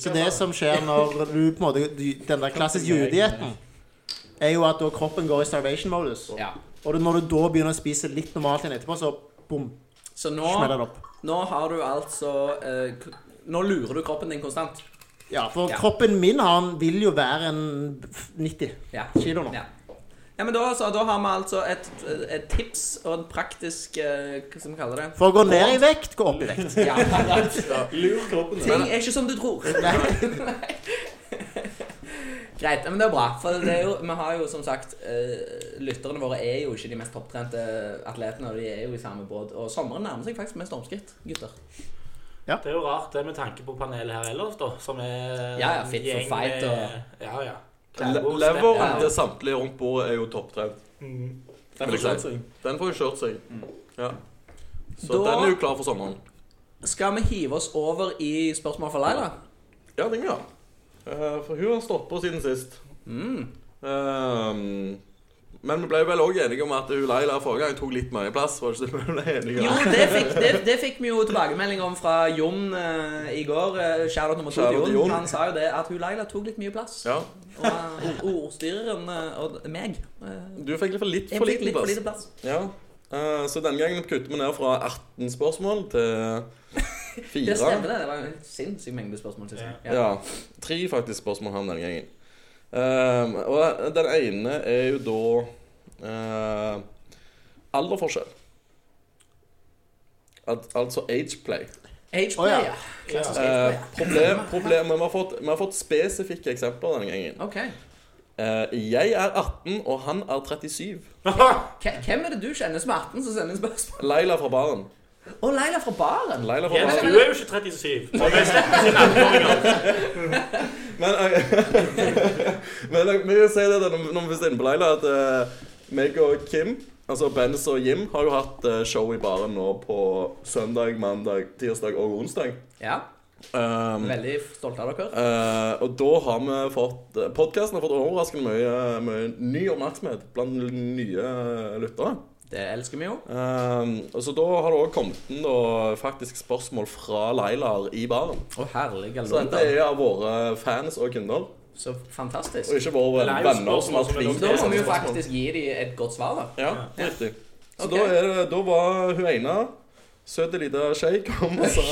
[SPEAKER 5] Så det som skjer når du på en måte du- Den der klassiske judedietten er jo at da kroppen går i starvation-modus.
[SPEAKER 2] Ja.
[SPEAKER 5] Og når du da begynner å spise litt normalt igjen etterpå, så bom,
[SPEAKER 2] Så nå,
[SPEAKER 5] smeller det opp.
[SPEAKER 2] nå har du altså eh, k- Nå lurer du kroppen din konstant.
[SPEAKER 5] Ja, for
[SPEAKER 2] Ja.
[SPEAKER 5] kroppen min han vil jo være en 90
[SPEAKER 2] Ja.
[SPEAKER 5] kilo nå.
[SPEAKER 2] Ja. Ja, men da, så, da har vi altså et, et tips og en praktisk eh, Hva skal vi kalle det?
[SPEAKER 5] For å gå ned i vekt, gå opp i vekt.
[SPEAKER 2] Ja,
[SPEAKER 4] Lur kroppen.
[SPEAKER 2] ting er ikke som du tror. Nei. Greit. ja, Men det er bra. For det er jo, vi har jo som sagt eh, Lytterne våre er jo ikke de mest topptrente atletene, og de er jo i samme båt. Og sommeren nærmer seg faktisk med stormskritt, gutter.
[SPEAKER 3] Det er jo rart det med tanke på panelet her ellers, da. Som er
[SPEAKER 2] Ja, ja, fit for
[SPEAKER 3] gjeng
[SPEAKER 2] fight
[SPEAKER 3] med-
[SPEAKER 2] og-
[SPEAKER 3] Ja, ja.
[SPEAKER 1] Le- Leveren til samtlige rundt bordet er jo topptrent. Den får kjørt seg. Den får jo kjørt seg. Ja. Så
[SPEAKER 2] Da-
[SPEAKER 1] den er jo klar for sommeren.
[SPEAKER 2] Skal vi hive oss over i spørsmål fra Laila?
[SPEAKER 1] Ja, den Eh, gjør Mm. uh, For hun har stått på siden sist.
[SPEAKER 2] Mm.
[SPEAKER 1] Ehm, Men vi ble vel òg enige om at hun Laila forrige gang tok litt mye plass. Var det ikke det vi ble enige
[SPEAKER 2] Jo,
[SPEAKER 1] om?
[SPEAKER 2] det fikk, det, det fikk vi jo tilbakemelding om fra Jon eh, i går. eh, Shoutout nummer to
[SPEAKER 1] Shoutout
[SPEAKER 2] til
[SPEAKER 1] til
[SPEAKER 2] Jon.
[SPEAKER 1] Jon.
[SPEAKER 2] Han sa jo det at hun Leila tok litt mye plass.
[SPEAKER 1] Ja.
[SPEAKER 2] Og eh, ordstyreren eh, og meg eh,
[SPEAKER 1] Du fikk litt for litt
[SPEAKER 2] Jeg
[SPEAKER 1] for
[SPEAKER 2] fikk
[SPEAKER 1] liten
[SPEAKER 2] litt for
[SPEAKER 1] plass.
[SPEAKER 2] lite plass.
[SPEAKER 1] Ja. Eh, så denne gangen kutter vi ned fra 18 spørsmål til
[SPEAKER 2] Det stemmer,
[SPEAKER 1] fire.
[SPEAKER 2] det. Det var jo en sinnssyk mengde spørsmål. sist gang. Ja.
[SPEAKER 1] Ja. Tre faktisk spørsmål han denne gangen. Eh, og den ene er jo da eh, alderforskjell. Al altså age play.
[SPEAKER 2] Age
[SPEAKER 5] Å, ja.
[SPEAKER 2] player. Klassisk age
[SPEAKER 1] Eh,
[SPEAKER 2] player.
[SPEAKER 1] problem, problem, men vi har, fått, vi har fått spesifikke eksempler denne gangen.
[SPEAKER 2] OK.
[SPEAKER 1] Eh, jeg er 18, og han er 37.
[SPEAKER 2] Hve- Hvem er det du kjenner som er 18 som sender spørsmål?
[SPEAKER 1] Leila fra baren.
[SPEAKER 2] Å, Leila fra baren.
[SPEAKER 1] Leila fra
[SPEAKER 3] Jens,
[SPEAKER 1] baren.
[SPEAKER 3] du er jo ikke 37. Og vi slipper ikke nærmere.
[SPEAKER 1] Men, eh, men eh, vi kan si det da, når når vi først er inne på Leila, at eh, meg og Kim, altså Benz og Jim, har jo hatt eh, show i baren nå på søndag, mandag, tirsdag og onsdag.
[SPEAKER 2] Ja,
[SPEAKER 1] Um,
[SPEAKER 2] Veldig stolt av dere.
[SPEAKER 1] Eh, og da har vi fått Podkasten har fått overraskende mye, mye ny oppmerksomhet blant nye eh, lyttere.
[SPEAKER 2] Det elsker vi jo.
[SPEAKER 1] Eh, og så da har det òg kommet inn da, faktisk spørsmål fra Lailar i baren.
[SPEAKER 2] Å, herlige
[SPEAKER 1] Så dette
[SPEAKER 2] lord.
[SPEAKER 1] er av våre fans og kunder,
[SPEAKER 2] Så fantastisk.
[SPEAKER 1] og ikke våre
[SPEAKER 3] Eller er det
[SPEAKER 1] venner som har
[SPEAKER 3] spørsmål som er
[SPEAKER 1] flinkt
[SPEAKER 2] Da må vi jo
[SPEAKER 1] spørsmål.
[SPEAKER 2] faktisk gi dem et godt svar, da.
[SPEAKER 1] Ja, riktig. Så
[SPEAKER 2] Ok.
[SPEAKER 1] da, er det, da var hun ene søte lita skei kom og sa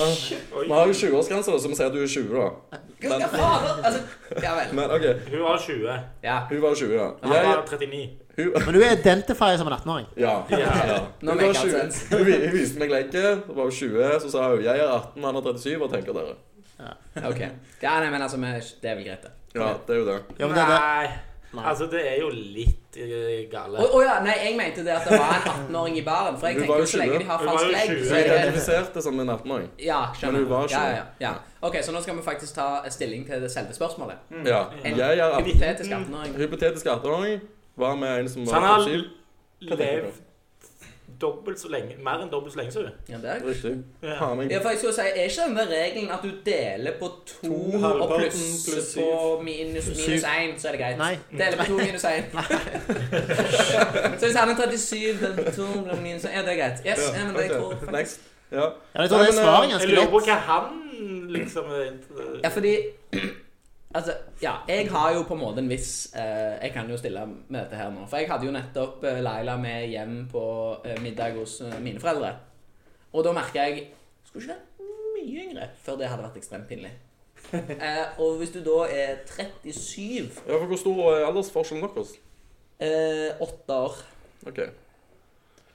[SPEAKER 3] Oi.
[SPEAKER 1] Vi har jo 20-årsgrense, da, så vi sier at du er 20, da.
[SPEAKER 2] Hva skal fader? Altså, ja vel.
[SPEAKER 1] Men OK,
[SPEAKER 3] Hun var 20.
[SPEAKER 2] Ja.
[SPEAKER 1] hun var 20, ja.
[SPEAKER 3] Han
[SPEAKER 1] Jeg,
[SPEAKER 3] var 39.
[SPEAKER 1] hun,
[SPEAKER 5] Men du identifier som en 18-åring.
[SPEAKER 1] Ja. ja.
[SPEAKER 2] Nå
[SPEAKER 1] Hun,
[SPEAKER 2] make
[SPEAKER 1] var
[SPEAKER 2] it
[SPEAKER 1] 20,
[SPEAKER 2] sense.
[SPEAKER 1] hun vi- hun viste meg leket, hun var 20, så sa hun 'jeg er 18, han er 37', hva tenker dere?
[SPEAKER 2] Ok. Ja, nei, men altså, vi- det er vel greit, det.
[SPEAKER 1] Ja, det er jo det.
[SPEAKER 5] Ja, men det, det,
[SPEAKER 3] Nei.
[SPEAKER 5] Nei.
[SPEAKER 3] Altså, det er jo litt eh,
[SPEAKER 2] Å
[SPEAKER 3] gale.
[SPEAKER 2] å ja, nei, jeg mente det at det var en 18-åring i baren. For jeg
[SPEAKER 1] Hun
[SPEAKER 2] tenker
[SPEAKER 1] var
[SPEAKER 2] jo
[SPEAKER 1] jo
[SPEAKER 2] så lenge
[SPEAKER 1] 20.
[SPEAKER 2] de har
[SPEAKER 3] Hun var
[SPEAKER 2] falsk
[SPEAKER 3] jo
[SPEAKER 2] legg,
[SPEAKER 3] 20.
[SPEAKER 2] så
[SPEAKER 1] Hun
[SPEAKER 2] er det
[SPEAKER 1] identifiserte som en 18-åring.
[SPEAKER 2] Ja, skjønner.
[SPEAKER 1] Men hun var
[SPEAKER 2] ja,
[SPEAKER 1] 20.
[SPEAKER 2] ja, ja. Ok, Så nå skal vi faktisk ta stilling til det selve spørsmålet.
[SPEAKER 1] Ja. Jeg er 18.
[SPEAKER 2] Hypotetisk 18-åring.
[SPEAKER 1] Hypotetisk 18-åring var med en som
[SPEAKER 3] Så han har
[SPEAKER 1] var 37.
[SPEAKER 3] levd dobbelt så lenge, mer enn dobbelt så lenge som hun.
[SPEAKER 2] Ja, det er
[SPEAKER 1] Riktig.
[SPEAKER 3] Ja.
[SPEAKER 1] Faen
[SPEAKER 2] ja,
[SPEAKER 1] meg.
[SPEAKER 2] for jeg skulle si, Er ikke den der regelen at du deler på to, og
[SPEAKER 4] halvparten
[SPEAKER 2] pluss,
[SPEAKER 4] pluss
[SPEAKER 2] på minus minus
[SPEAKER 5] Syv.
[SPEAKER 2] én, så er det greit?
[SPEAKER 5] Nei.
[SPEAKER 2] Deler på to minus én. så hvis han er 37, deler på to blir det minus én. Ja, det er greit. Yes, ja, men det jeg tror
[SPEAKER 1] Ok, Next. Ja.
[SPEAKER 5] ja, eh, jeg tror
[SPEAKER 1] Nei,
[SPEAKER 5] det
[SPEAKER 1] men,
[SPEAKER 5] svaret er
[SPEAKER 3] Jeg
[SPEAKER 5] ganske
[SPEAKER 3] lurer på
[SPEAKER 5] lett.
[SPEAKER 3] hva han liksom eh,
[SPEAKER 2] Ja, fordi Altså, ja, jeg har jo på en måte en viss eh, Jeg kan jo stille med dette her nå. For jeg hadde jo nettopp eh, Laila med hjem på eh, middag hos eh, mine foreldre. Og da merka jeg Skulle ikke vært mye yngre før det hadde vært ekstremt pinlig. Eh, og hvis du da er 37
[SPEAKER 1] ja, for hvor stor er aldersforskjellen deres?
[SPEAKER 2] eh, åtte år
[SPEAKER 1] OK.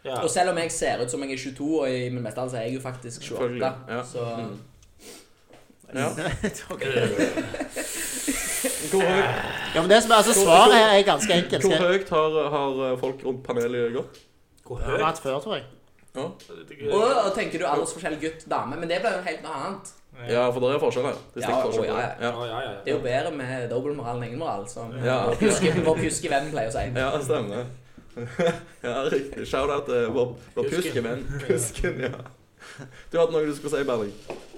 [SPEAKER 3] Ja.
[SPEAKER 2] Og selv om jeg ser ut som jeg er 22, og i min beste alder så er jeg jo faktisk 28,
[SPEAKER 1] Selvfølgelig, ja. Mm.
[SPEAKER 2] så
[SPEAKER 1] Ja.
[SPEAKER 3] Eh,
[SPEAKER 5] Ok.
[SPEAKER 1] Hvor, høy,
[SPEAKER 5] Ja, men det som er, altså, svaret her er ganske enkelt.
[SPEAKER 1] hvor
[SPEAKER 5] Skal jeg
[SPEAKER 1] høyt har, har folk rundt panelet gått?
[SPEAKER 3] Hvor
[SPEAKER 5] har
[SPEAKER 3] høyt?
[SPEAKER 5] hatt før, tror jeg.
[SPEAKER 2] og, og tenker du aldersforskjell gutt-dame, men det blir jo helt noe annet.
[SPEAKER 1] Ja, for det er forskjell her. Det er
[SPEAKER 2] Ja,
[SPEAKER 1] stikk forskjell.
[SPEAKER 2] å, ja, ja.
[SPEAKER 1] Ja.
[SPEAKER 3] Ja, ja, ja.
[SPEAKER 2] Det er jo bedre med dobbeltmoral enn egenmoral, som
[SPEAKER 1] Ja.
[SPEAKER 2] vår pjuske- vår pjuske venn pleier å si.
[SPEAKER 1] Ja, stemmer. ja, riktig. Shout-out til vår, vår pjuske venn. Pjusken, ja. Du hadde noe du skulle si, Berling.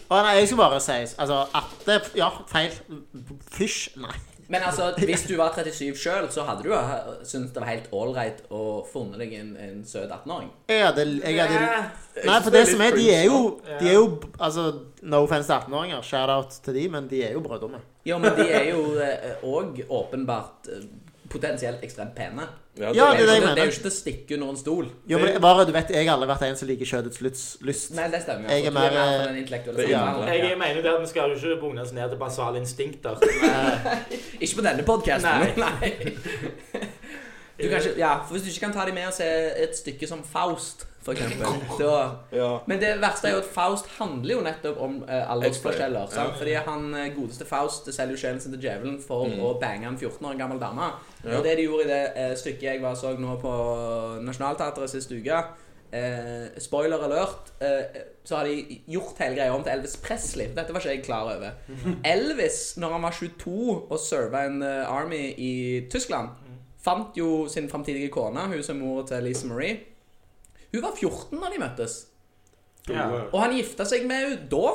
[SPEAKER 5] Å, nei, jeg skal bare si altså, at det, Ja, feil. Fysj. Nei.
[SPEAKER 2] Men altså, hvis du var 37 sjøl, så hadde du jo ha- syntes det var helt ålreit å funne deg en, en søt 18-åring.
[SPEAKER 5] Jeg hadde, jeg hadde
[SPEAKER 1] Jeg
[SPEAKER 5] Nei,
[SPEAKER 1] synes
[SPEAKER 5] for det
[SPEAKER 1] litt
[SPEAKER 5] som er, de
[SPEAKER 1] cringe,
[SPEAKER 5] er jo,
[SPEAKER 3] da.
[SPEAKER 5] de er jo altså, No offense til 18-åringer, shout-out til de, men de er jo brøddumme.
[SPEAKER 2] Jo, men de er jo òg åpenbart eh, potensielt ekstremt pene.
[SPEAKER 1] da.
[SPEAKER 2] Det
[SPEAKER 5] Ja,
[SPEAKER 2] er,
[SPEAKER 5] det
[SPEAKER 2] jo
[SPEAKER 5] jeg
[SPEAKER 2] ikke- det er
[SPEAKER 5] mener.
[SPEAKER 2] jo ikke til å stikke under en stol.
[SPEAKER 5] Jo, men det- bare, du vet, jeg har aldri vært en som liker kjødets lyst. lyst.
[SPEAKER 2] Nei, det stemmer.
[SPEAKER 5] Jeg er
[SPEAKER 2] jo. Du
[SPEAKER 5] mer, eh,
[SPEAKER 2] for den intellektuelle
[SPEAKER 1] det er
[SPEAKER 2] samtalen.
[SPEAKER 1] innenfor.
[SPEAKER 3] Jeg mener jo det at vi skal jo ikke bunge oss ned til basale instinkter.
[SPEAKER 2] Ikke på denne podkasten.
[SPEAKER 3] Nei.
[SPEAKER 2] Nei. Du kan ikke, ja, for Hvis du ikke kan ta dem med og se et stykke som Faust, for eksempel, da
[SPEAKER 1] Ja.
[SPEAKER 2] Men det verste er jo at Faust handler jo nettopp om eh, aldersforskjeller. sant? Fordi han eh, godeste Faust selger jo sjelen sin til djevelen for å bange en 14 år gammel dame.
[SPEAKER 1] Mm. Ja.
[SPEAKER 2] Og det de gjorde i det eh, stykket jeg var så nå på Nationaltheatret sist uke eh, Spoiler alert, eh, så har de gjort hele greia om til Elvis Presley. Dette var ikke jeg klar over.
[SPEAKER 1] Mhm.
[SPEAKER 2] Elvis, når han var 22 og serva en eh, army i Tyskland,
[SPEAKER 1] Mhm.
[SPEAKER 2] fant jo sin framtidige kone, hun som er mor til Lisa Marie. Hun var 14 da de møttes.
[SPEAKER 3] Ja.
[SPEAKER 2] Og
[SPEAKER 1] Mm.
[SPEAKER 2] han gifta seg med henne da,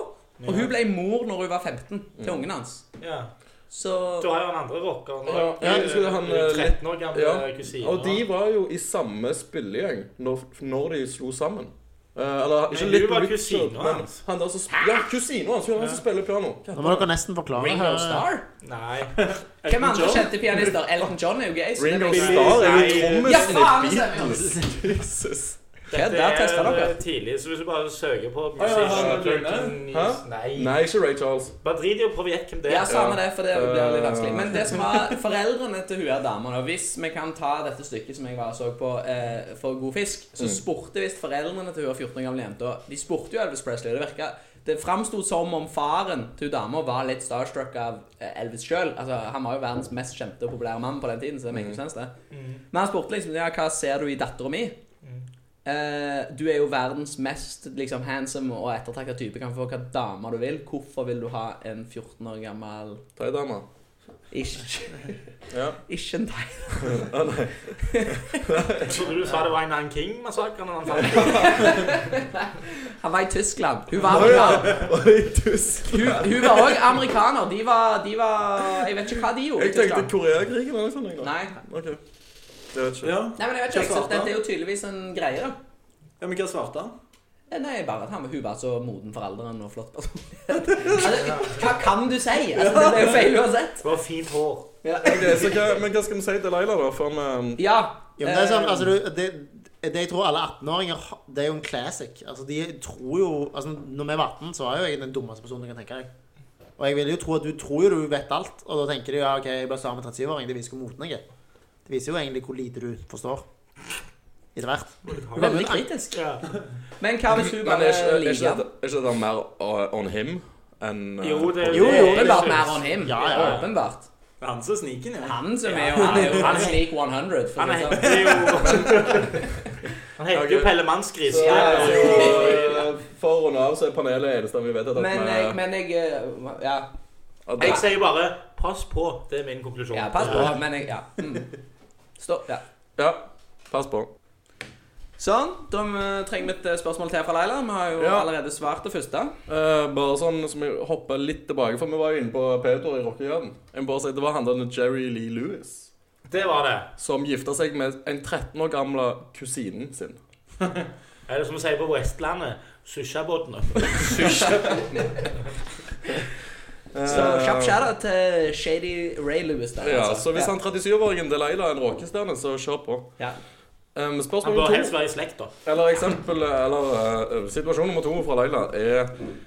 [SPEAKER 2] og hun ble mor når hun var 15, til ungen hans.
[SPEAKER 3] Ja.
[SPEAKER 2] Så
[SPEAKER 3] Du har jo den andre rockeren
[SPEAKER 1] Ja,
[SPEAKER 3] òg.
[SPEAKER 1] jeg husker han, eh,
[SPEAKER 3] 13 år gamle
[SPEAKER 1] ja.
[SPEAKER 3] kusine.
[SPEAKER 1] Og de var jo i samme spillegjeng når, når de slo sammen. Eh, eller ikke
[SPEAKER 3] Men
[SPEAKER 1] litt
[SPEAKER 3] hun var
[SPEAKER 1] Richard,
[SPEAKER 3] kusina
[SPEAKER 1] men
[SPEAKER 3] hans.
[SPEAKER 1] Han der som sp- ja, kusina hans. Hun er han som spiller piano.
[SPEAKER 5] Nå må dere nesten forklare
[SPEAKER 2] Ringo
[SPEAKER 1] eh,
[SPEAKER 5] her.
[SPEAKER 2] Starr?
[SPEAKER 3] Nei.
[SPEAKER 2] Hvem andre kjente pianister? Elton John er jo gay. så det
[SPEAKER 1] Ringo
[SPEAKER 2] blir-
[SPEAKER 3] Billy
[SPEAKER 1] Starr er jo
[SPEAKER 3] Stein.
[SPEAKER 2] Ja,
[SPEAKER 1] trommisen i
[SPEAKER 2] faen, det stemmer jo.
[SPEAKER 1] Beatles. Jesus.
[SPEAKER 2] Ja,
[SPEAKER 3] Dette
[SPEAKER 2] der tester
[SPEAKER 3] er
[SPEAKER 2] dere.
[SPEAKER 3] eh, tidlig, så hvis du bare søker på
[SPEAKER 4] ja, ja,
[SPEAKER 3] Musician
[SPEAKER 4] ja, ja.
[SPEAKER 1] Hæ?
[SPEAKER 3] Attorneys- Nei.
[SPEAKER 1] Nei, ikke Ray Charles.
[SPEAKER 3] Bare drit i å prøve å gjette hvem det
[SPEAKER 2] Ja,
[SPEAKER 3] er.
[SPEAKER 2] samme det, for det blir litt
[SPEAKER 1] Eh.
[SPEAKER 2] vanskelig. Men det som var foreldrene til hun her dama da, Hvis vi kan ta dette stykket som jeg var og så på eh, for god fisk, så
[SPEAKER 1] Mm.
[SPEAKER 2] spurte visst foreldrene til hun her 14 år gamle jenta De spurte jo Elvis Presley, og det virka Det framsto som om faren til hun dama var litt starstruck av eh, Elvis sjøl. Altså, han var jo verdens mest kjente og populære mann på den tiden, så det makes jo sense, det.
[SPEAKER 3] Mm.
[SPEAKER 2] Men han spurte liksom ja, hva ser du i dattera mi?
[SPEAKER 3] Mm.
[SPEAKER 2] Eh, du er jo verdens mest liksom, handsome og ettertrakta type. Kan få hva dame du vil. Hvorfor vil du ha en 14 år gammel
[SPEAKER 1] Thaidama.
[SPEAKER 2] Ikke,
[SPEAKER 1] Ja.
[SPEAKER 2] ikke en deg.
[SPEAKER 1] Ah, nei.
[SPEAKER 3] Jeg trodde du sa det var Einan King-massakren. Han fant
[SPEAKER 2] Han var i Tyskland. Hun var
[SPEAKER 1] Å ja.
[SPEAKER 2] amerikaner.
[SPEAKER 1] Oi, tusen.
[SPEAKER 2] Hun, hun var òg amerikaner. De var, de var Jeg vet ikke hva de gjorde i
[SPEAKER 1] Jeg tenkte
[SPEAKER 2] Tyskland.
[SPEAKER 1] Koreakrigen eller noe sånt. jeg, da.
[SPEAKER 2] Nei.
[SPEAKER 1] Ok. Det vet jeg ikke.
[SPEAKER 4] Ja.
[SPEAKER 2] Nei, men jeg vet ikke. Jeg,
[SPEAKER 4] Hva
[SPEAKER 2] så
[SPEAKER 4] svarte
[SPEAKER 2] dette
[SPEAKER 4] han?
[SPEAKER 2] er jo tydeligvis en greie, da.
[SPEAKER 4] ja, men hva svarte han?
[SPEAKER 2] Eh, Nei, bare at han, hun var så moden for alderen og flott personlighet. Altså, hva kan du si? Altså, det er jo feil uansett.
[SPEAKER 3] Det var fint hår.
[SPEAKER 2] Ja.
[SPEAKER 1] Ok, så hva, men hva skal vi si til Laila, da? For han, eh,
[SPEAKER 2] ja.
[SPEAKER 5] Ja, men det er sånn,
[SPEAKER 2] eh,
[SPEAKER 5] altså, du, det, det jeg tror alle 18-åringer har- Det er jo en classic. Altså, de tror jo altså, Når vi var 18, så var jo jeg den dummeste personen du kan tenke deg. Og jeg vil jo tro at du tror jo du vet alt, og da tenker du ja, OK, jeg ble sammen med en 37-åring. Det viser hvor moten jeg er. Det viser jo egentlig hvor lite du forstår. Etter hvert.
[SPEAKER 2] Veldig kritisk.
[SPEAKER 3] Ja.
[SPEAKER 2] Men hva hvis hun
[SPEAKER 1] Men
[SPEAKER 2] bare
[SPEAKER 1] er ikke, er
[SPEAKER 2] liker
[SPEAKER 1] ikke,
[SPEAKER 2] han?
[SPEAKER 1] dette- er ikke dette mer uh, on him enn uh,
[SPEAKER 3] Jo, det
[SPEAKER 5] Jo, jo,
[SPEAKER 3] det
[SPEAKER 2] Åpenbart
[SPEAKER 3] synes.
[SPEAKER 2] mer on him.
[SPEAKER 5] Ja, ja, ja.
[SPEAKER 2] Åpenbart.
[SPEAKER 4] Det er han som er sniken, ja.
[SPEAKER 2] Han som er jo Han er jo han er slik 100. For å
[SPEAKER 3] Han
[SPEAKER 2] si det sånn.
[SPEAKER 3] heter jo Han heter jo
[SPEAKER 1] Ok.
[SPEAKER 3] Pelle Mannsgris.
[SPEAKER 1] Så,
[SPEAKER 3] Det er jo-
[SPEAKER 1] eh, for og av så er panelet det eneste vi vet at
[SPEAKER 2] Men jeg,
[SPEAKER 1] vi-
[SPEAKER 2] men jeg eh, Ja,
[SPEAKER 1] at
[SPEAKER 3] Jeg sier bare pass på. Det er min konklusjon.
[SPEAKER 2] ja pass på, men jeg Ja. Mm. Stopp. Ja.
[SPEAKER 1] Ja, pass på.
[SPEAKER 2] Sånn. Da eh, trenger vi et eh, spørsmål til fra Leila. Vi har jo
[SPEAKER 1] Ja.
[SPEAKER 2] allerede svart det første.
[SPEAKER 1] Eh, bare sånn som jeg hopper litt tilbake, for vi var jo inne på Pedro i rockegarden. Jeg må bare si, Det var han der Jerry Lee Lewis
[SPEAKER 3] Det var det.
[SPEAKER 1] som gifta seg med en 13 år gamle kusinen sin.
[SPEAKER 3] Er det som vi sier på Vestlandet? Sushabotn.
[SPEAKER 2] Så kjapp skjæra til Shady Ray Lewis der.
[SPEAKER 1] Eh, Ja,
[SPEAKER 2] altså.
[SPEAKER 1] så hvis
[SPEAKER 2] Ja.
[SPEAKER 1] han 37-åringen Delilah er en rockestjerne, så kjør på.
[SPEAKER 2] Ja.
[SPEAKER 1] Um,
[SPEAKER 3] Han
[SPEAKER 1] spørsmål
[SPEAKER 3] bør
[SPEAKER 1] nummer
[SPEAKER 3] helst
[SPEAKER 1] to,
[SPEAKER 3] være i slekt, da.
[SPEAKER 1] eller eksempel, eller eh, situasjon nummer to fra Leila er Hun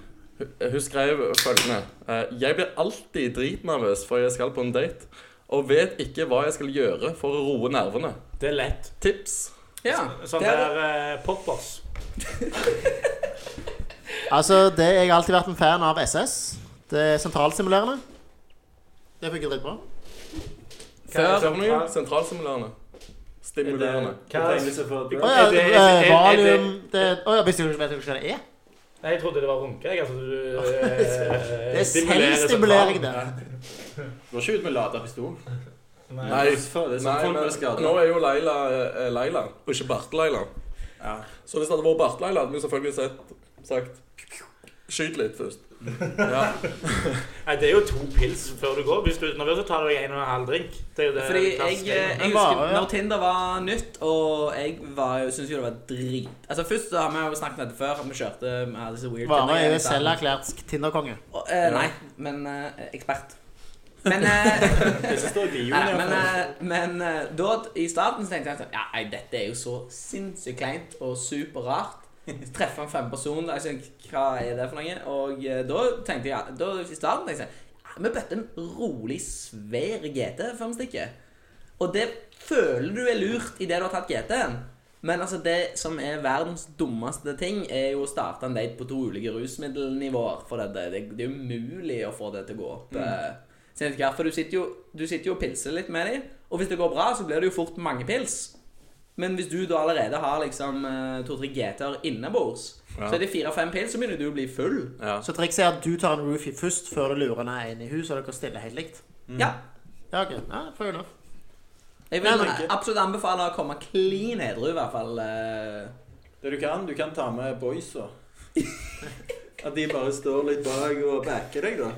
[SPEAKER 1] hun skrev følgende eh, Jeg blir alltid dritnervøs før jeg skal på en date, og vet ikke hva jeg skal gjøre for å roe nervene.
[SPEAKER 3] Det er lett.
[SPEAKER 1] Tips?
[SPEAKER 2] ja.
[SPEAKER 3] Sånn
[SPEAKER 2] Det er-
[SPEAKER 3] der eh, poppers.
[SPEAKER 5] Altså, det jeg har alltid vært en fan av SS. Det er sentralstimulerende. Det funker dritbra.
[SPEAKER 1] Hva
[SPEAKER 2] Før
[SPEAKER 1] er det? Sentralstimulerende. Stimulerende.
[SPEAKER 4] Hva er det for et
[SPEAKER 5] Å
[SPEAKER 4] bra?
[SPEAKER 5] ja,
[SPEAKER 3] Er det- er det- er det-
[SPEAKER 5] eh, valium det Å ja, hvis du vet du ikke hva det er?
[SPEAKER 3] Nei, jeg trodde det var runke. Jeg, altså, du, eh,
[SPEAKER 5] Det er
[SPEAKER 3] stimulerer
[SPEAKER 5] selvstimulering, det.
[SPEAKER 3] sentralen.
[SPEAKER 4] Går ikke ut med lada pistol.
[SPEAKER 3] Nei.
[SPEAKER 1] Nei,
[SPEAKER 4] for det er sånn
[SPEAKER 1] Nei,
[SPEAKER 4] folk blir
[SPEAKER 1] men
[SPEAKER 4] skadet.
[SPEAKER 1] nå er jo Leila eh, Leila, og ikke Bart-Leila.
[SPEAKER 4] Ja.
[SPEAKER 1] Så hvis det hadde vært Bart-Leila, hadde vi selvfølgelig sett, sagt Skyt litt først. Ja.
[SPEAKER 3] Nei, det er jo to pils før du går. Hvis du er nervøs, så tar du deg en og en halv drink. Det er jo det
[SPEAKER 2] Fordi jeg, eh,
[SPEAKER 3] klassiske.
[SPEAKER 2] jeg
[SPEAKER 5] Men
[SPEAKER 2] husker
[SPEAKER 5] bare, ja.
[SPEAKER 2] når Tinder var nytt, og jeg var jo- syntes jo det var drit Altså Først så har vi jo snakket om dette før, at vi kjørte vi hadde disse weird
[SPEAKER 5] Vare er
[SPEAKER 2] Tinder-greiene.
[SPEAKER 5] jo selverklært Tinder-konge.
[SPEAKER 2] Og, eh, nei, men eh, ekspert. Men, eh,
[SPEAKER 4] Det som står i bioen,
[SPEAKER 2] nei, men,
[SPEAKER 4] iallfall.
[SPEAKER 2] eh, men eh, da i starten så tenkte jeg sånn Ja, nei, dette er jo så sinnssykt kleint og superrart. Så treffer han fem personer, jeg sånn, hva er det for noe? Og eh, da tenkte jeg ja, da, I starten tenkte jeg sånn, ja, vi bøtte en rolig, svær GT før vi stikker. Og det føler du er lurt idet du har tatt GT-en. Men altså det som er verdens dummeste ting, er jo å starte en date på to ulike rusmiddelnivåer. For det, det, det er umulig å få det til å gå opp. eh, sent i kveld, For du sitter, jo, du sitter jo og pilser litt med dem, og hvis det går bra, så blir det jo fort mange pils. Men hvis du da allerede har liksom eh, to-tre GT-er innebords,
[SPEAKER 1] Ja.
[SPEAKER 2] så er det fire-fem pils, så begynner du å bli full.
[SPEAKER 1] Ja.
[SPEAKER 5] Så trikset er at du tar en roofie først før du lurer ned en i hus, og dere stiller helt likt.
[SPEAKER 3] Mm.
[SPEAKER 2] Ja.
[SPEAKER 5] Ja, ok. Ja, fair enough.
[SPEAKER 2] Jeg
[SPEAKER 5] Nei,
[SPEAKER 2] vil
[SPEAKER 5] men ikke.
[SPEAKER 2] absolutt anbefale å komme klin edru, i hvert fall. eh.
[SPEAKER 4] Det du kan, du kan ta med boysa. At de bare står litt bak og backer deg, da.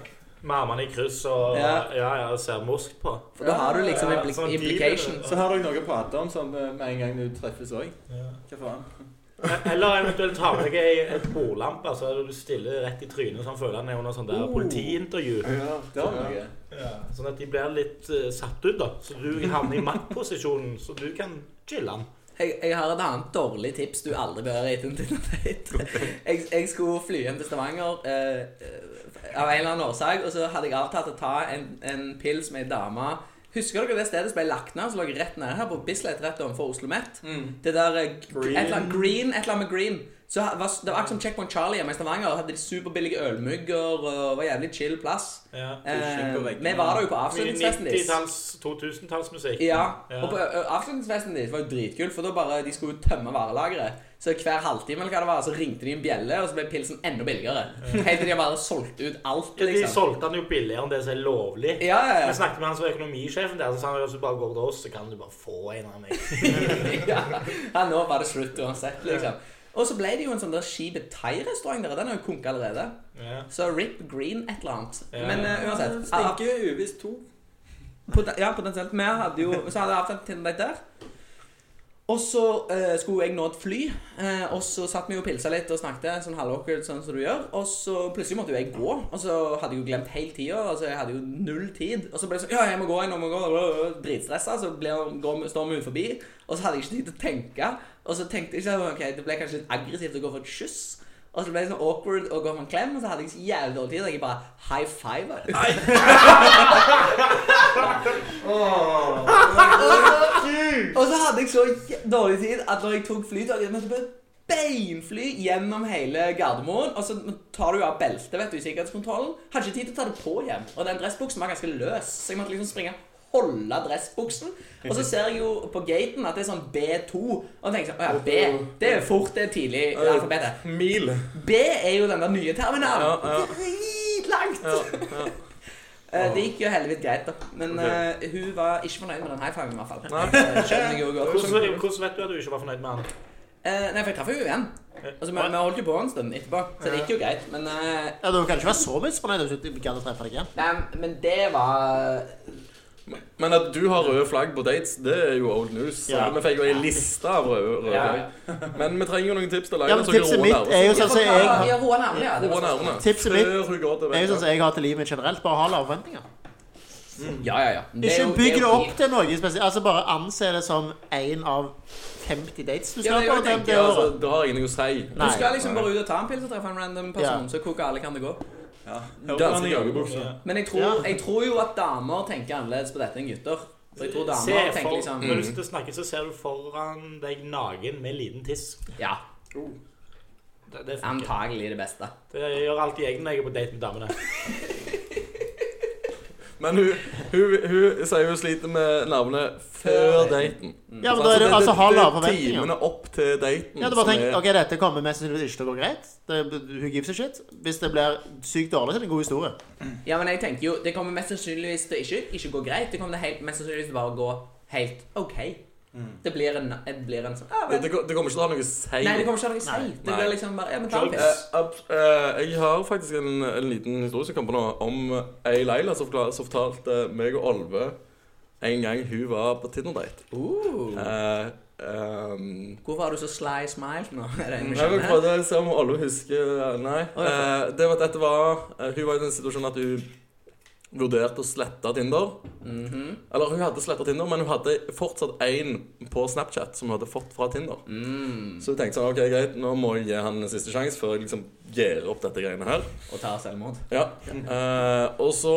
[SPEAKER 3] med armene i kryss og ja,
[SPEAKER 2] Ja.
[SPEAKER 3] ja, ser morskt på.
[SPEAKER 2] For da har du liksom
[SPEAKER 3] Ja,
[SPEAKER 2] impli
[SPEAKER 3] sånn deal.
[SPEAKER 2] implication.
[SPEAKER 4] Så har dere noe å prate om som eh, med en gang du treffes òg.
[SPEAKER 3] Ja.
[SPEAKER 4] Hva faen?
[SPEAKER 3] Eh, Eller eventuelt ta med deg ei et bordlampe, så du stiller rett i trynet, så han føler han er under sånn der
[SPEAKER 2] Oh.
[SPEAKER 3] politiintervju.
[SPEAKER 4] Ja, det har vi noe.
[SPEAKER 3] Sånn at de blir litt eh, satt ut, da. Så du havner i maktposisjonen, så du kan chille han.
[SPEAKER 2] Jeg, jeg har et annet dårlig tips du aldri bør gjøre etter en Tinder-date. Jeg, jeg skulle fly hjem til Stavanger eh, eh, av en eller annen årsak, og så hadde jeg avtalt å ta en, en pils med ei dame. Husker dere det stedet som ble lagt ned, som lå rett nede her på Bislett, rett overfor Oslo Met? Det der eh, g-
[SPEAKER 4] Mm. Green.
[SPEAKER 2] Et eller annet green, et eller annet med green. Så ha- var, det var akkurat som Checkpoint Charlie hjemme i Stavanger. Hadde de superbillige ølmugger og var jævlig chill plass.
[SPEAKER 3] Ja.
[SPEAKER 2] Eh,
[SPEAKER 4] på veggene.
[SPEAKER 2] vi var der jo på
[SPEAKER 3] Mye
[SPEAKER 2] avslutningsfesten deres.
[SPEAKER 3] 90-talls, 2000-tallsmusikk.
[SPEAKER 2] Ja,
[SPEAKER 3] Ja.
[SPEAKER 2] og på ø, avslutningsfesten deres var jo dritkult, for da bare, de skulle jo tømme varelageret. Så hver halvtime eller hva det var, så ringte de en bjelle, og så ble pilsen enda billigere. Helt til de bare solgte ut alt,
[SPEAKER 3] Ja, De
[SPEAKER 2] liksom.
[SPEAKER 3] solgte han jo billigere enn det som er lovlig.
[SPEAKER 2] Ja, ja,
[SPEAKER 3] Jeg
[SPEAKER 2] ja.
[SPEAKER 3] snakket med han som var økonomisjefen der, så sa han at hvis du bare går til oss, så kan du bare få en av meg.
[SPEAKER 2] ja. ja, nå var det slutt uansett, liksom. Og så ble det jo en sånn der skipet thai-restaurant der, og den har jo kunket allerede.
[SPEAKER 3] Ja.
[SPEAKER 2] Så Rip Green et eller annet.
[SPEAKER 3] Ja.
[SPEAKER 2] Men ø, uansett. ah,
[SPEAKER 4] Stinker uvisst to.
[SPEAKER 2] Poten ja, potensielt. Vi hadde jo Så hadde jeg avtalt Tinder Date der. Og så eh, skulle jeg nå et fly, eh, og så satt vi jo og pilsa litt og snakket sånn halvåkkelt, sånn som du gjør. Og så plutselig måtte jo jeg gå, og så hadde jeg jo glemt hele tida. Altså, jeg hadde jo null tid. Og så ble det sånn Ja, jeg må gå, jeg må gå. Dritstressa. Så ble, går, vi- står vi ut forbi, og så hadde jeg ikke tid til å tenke. Og så tenkte jeg sånn OK, det ble kanskje litt aggressivt å gå for et kyss. Og så ble det sånn awkward å gå for en klem, og så hadde jeg så jævlig dårlig tid. Og jeg bare high five. Og så hadde jeg så jæ- dårlig tid at når jeg tok flytoget, jeg måtte bare beinfly gjennom hele Gardermoen. Og så tar du jo av beltet vet du, i sikkerhetskontrollen. Hadde ikke tid til å ta det på hjem. Og den dressbuksen var ganske løs, så jeg måtte liksom springe holde dressbuksen. Og så ser jeg jo på gaten at det er sånn B2. Og tenker sånn, å ja, B, det er fort, det er tidlig i alfabetet.
[SPEAKER 1] Mil.
[SPEAKER 2] B er jo den der nye terminalen.
[SPEAKER 1] Ja, ja.
[SPEAKER 2] Dritlangt!
[SPEAKER 1] Ja, ja.
[SPEAKER 2] Eh, Det gikk jo helvete greit, da. Men
[SPEAKER 1] Ok.
[SPEAKER 2] eh, hun var ikke fornøyd med den high fiven, i hvert fall.
[SPEAKER 1] Nei.
[SPEAKER 2] Det skjønner jeg jo godt. liksom.
[SPEAKER 3] Hvordan, hvordan vet du at du ikke var fornøyd med han?
[SPEAKER 2] Eh, nei, for jeg traff jo igjen. Altså, vi, vi holdt jo på en stund etterpå, så det gikk jo greit. Men, eh,
[SPEAKER 5] Ja, Du kan ikke være så misfornøyd hvis du ikke gadd å treffe deg igjen.
[SPEAKER 2] nei, men det var
[SPEAKER 1] Men at du har røde flagg på dates, det er jo old news. Så
[SPEAKER 5] Ja.
[SPEAKER 1] Vi fikk jo ei liste av røde, røde
[SPEAKER 2] Ja.
[SPEAKER 1] flagg. Men vi trenger jo noen tips til å lage
[SPEAKER 5] Ja, men Tipset mitt er jo sånn som jeg har
[SPEAKER 2] Ja, Roa nærmere, ja. Det
[SPEAKER 1] Roe
[SPEAKER 2] var sånn.
[SPEAKER 1] nervene
[SPEAKER 5] Tipset mitt
[SPEAKER 1] før hun går til
[SPEAKER 5] er jo sånn
[SPEAKER 1] veggen.
[SPEAKER 5] som jeg har til livet mitt generelt. Bare ha lave forventninger.
[SPEAKER 2] Ja, ja, ja. Det er
[SPEAKER 5] Ikke
[SPEAKER 2] jo-
[SPEAKER 5] bygg
[SPEAKER 2] er
[SPEAKER 5] det
[SPEAKER 2] jo
[SPEAKER 5] opp
[SPEAKER 2] fint.
[SPEAKER 5] til noe spesielt. Altså Bare anse det som én av 50 dates du
[SPEAKER 2] Ja, det
[SPEAKER 5] skal på.
[SPEAKER 2] gjør jeg
[SPEAKER 5] det-
[SPEAKER 2] tenker,
[SPEAKER 5] det
[SPEAKER 1] Ja, altså,
[SPEAKER 5] året.
[SPEAKER 1] det har ingenting å si.
[SPEAKER 2] Du
[SPEAKER 5] Nei.
[SPEAKER 2] skal liksom bare ut og ta en pils og treffe en random person,
[SPEAKER 5] Ja.
[SPEAKER 2] så hvor gale kan det gå?
[SPEAKER 4] Ja.
[SPEAKER 1] Danse i joggebukse.
[SPEAKER 2] Men jeg tror,
[SPEAKER 5] Ja.
[SPEAKER 2] jeg tror jo at damer tenker annerledes på dette enn gutter. For jeg tror
[SPEAKER 3] Se
[SPEAKER 2] damer tenker
[SPEAKER 3] for,
[SPEAKER 2] liksom
[SPEAKER 1] Mm.
[SPEAKER 3] Når du sitter og snakker, så ser du foran deg naken med liten tiss.
[SPEAKER 2] Ja,
[SPEAKER 3] Det, det, funker.
[SPEAKER 2] antagelig det beste.
[SPEAKER 3] det gjør alltid jeg når jeg er på date med damene.
[SPEAKER 1] Men hun, hun, hun sier hun sliter med nervene før
[SPEAKER 2] Før
[SPEAKER 1] daten.
[SPEAKER 5] Ja, men da er det altså ha lave forventninger.
[SPEAKER 1] timene opp til daten
[SPEAKER 5] Ja, du bare
[SPEAKER 1] Mm. som
[SPEAKER 5] tenk,
[SPEAKER 1] er-
[SPEAKER 5] ok, dette kommer mest sannsynligvis ikke til å gå greit. Det, who gives a shit? Hvis det blir sykt dårlig, så er det en god historie.
[SPEAKER 2] Ja, men jeg tenker jo, det kommer mest sannsynligvis til å ikke, ikke gå greit. Det kommer til helt, mest sannsynligvis til bare å gå helt OK. Det blir en, det blir en sånn ah,
[SPEAKER 1] Mm. det,
[SPEAKER 2] vel.
[SPEAKER 1] det, det kommer ikke til å ha noe å si.
[SPEAKER 2] Nei, det kommer ikke til å si. Det
[SPEAKER 1] Nei.
[SPEAKER 2] blir liksom bare Ja, men ta en
[SPEAKER 1] Eh,
[SPEAKER 2] piss.
[SPEAKER 1] ab- eh, jeg har faktisk en, en liten historie som kommer nå om ei Leila som, forklar- som fortalte meg og Olve en gang hun var på Tinder-date.
[SPEAKER 2] Uh.
[SPEAKER 1] Eh, ehm,
[SPEAKER 2] Hvorfor har du så sly smile nå? Er det en vi
[SPEAKER 1] Nei, men
[SPEAKER 2] skjønner?
[SPEAKER 1] prøvde å se om Olve husker Nei.
[SPEAKER 2] Å, ja.
[SPEAKER 1] Eh, det var at dette var eh, Hun var i den situasjonen at hun vurderte å slette Tinder.
[SPEAKER 2] Mhm.
[SPEAKER 1] Eller hun hadde sletta Tinder, men hun hadde fortsatt én på Snapchat som hun hadde fått fra Tinder.
[SPEAKER 2] mm.
[SPEAKER 1] Så hun tenkte sånn, ok, greit, nå må jeg gi han en siste sjanse før jeg liksom gir opp dette greiene her.
[SPEAKER 2] Og tar selvmord.
[SPEAKER 1] Ja. Eh, og så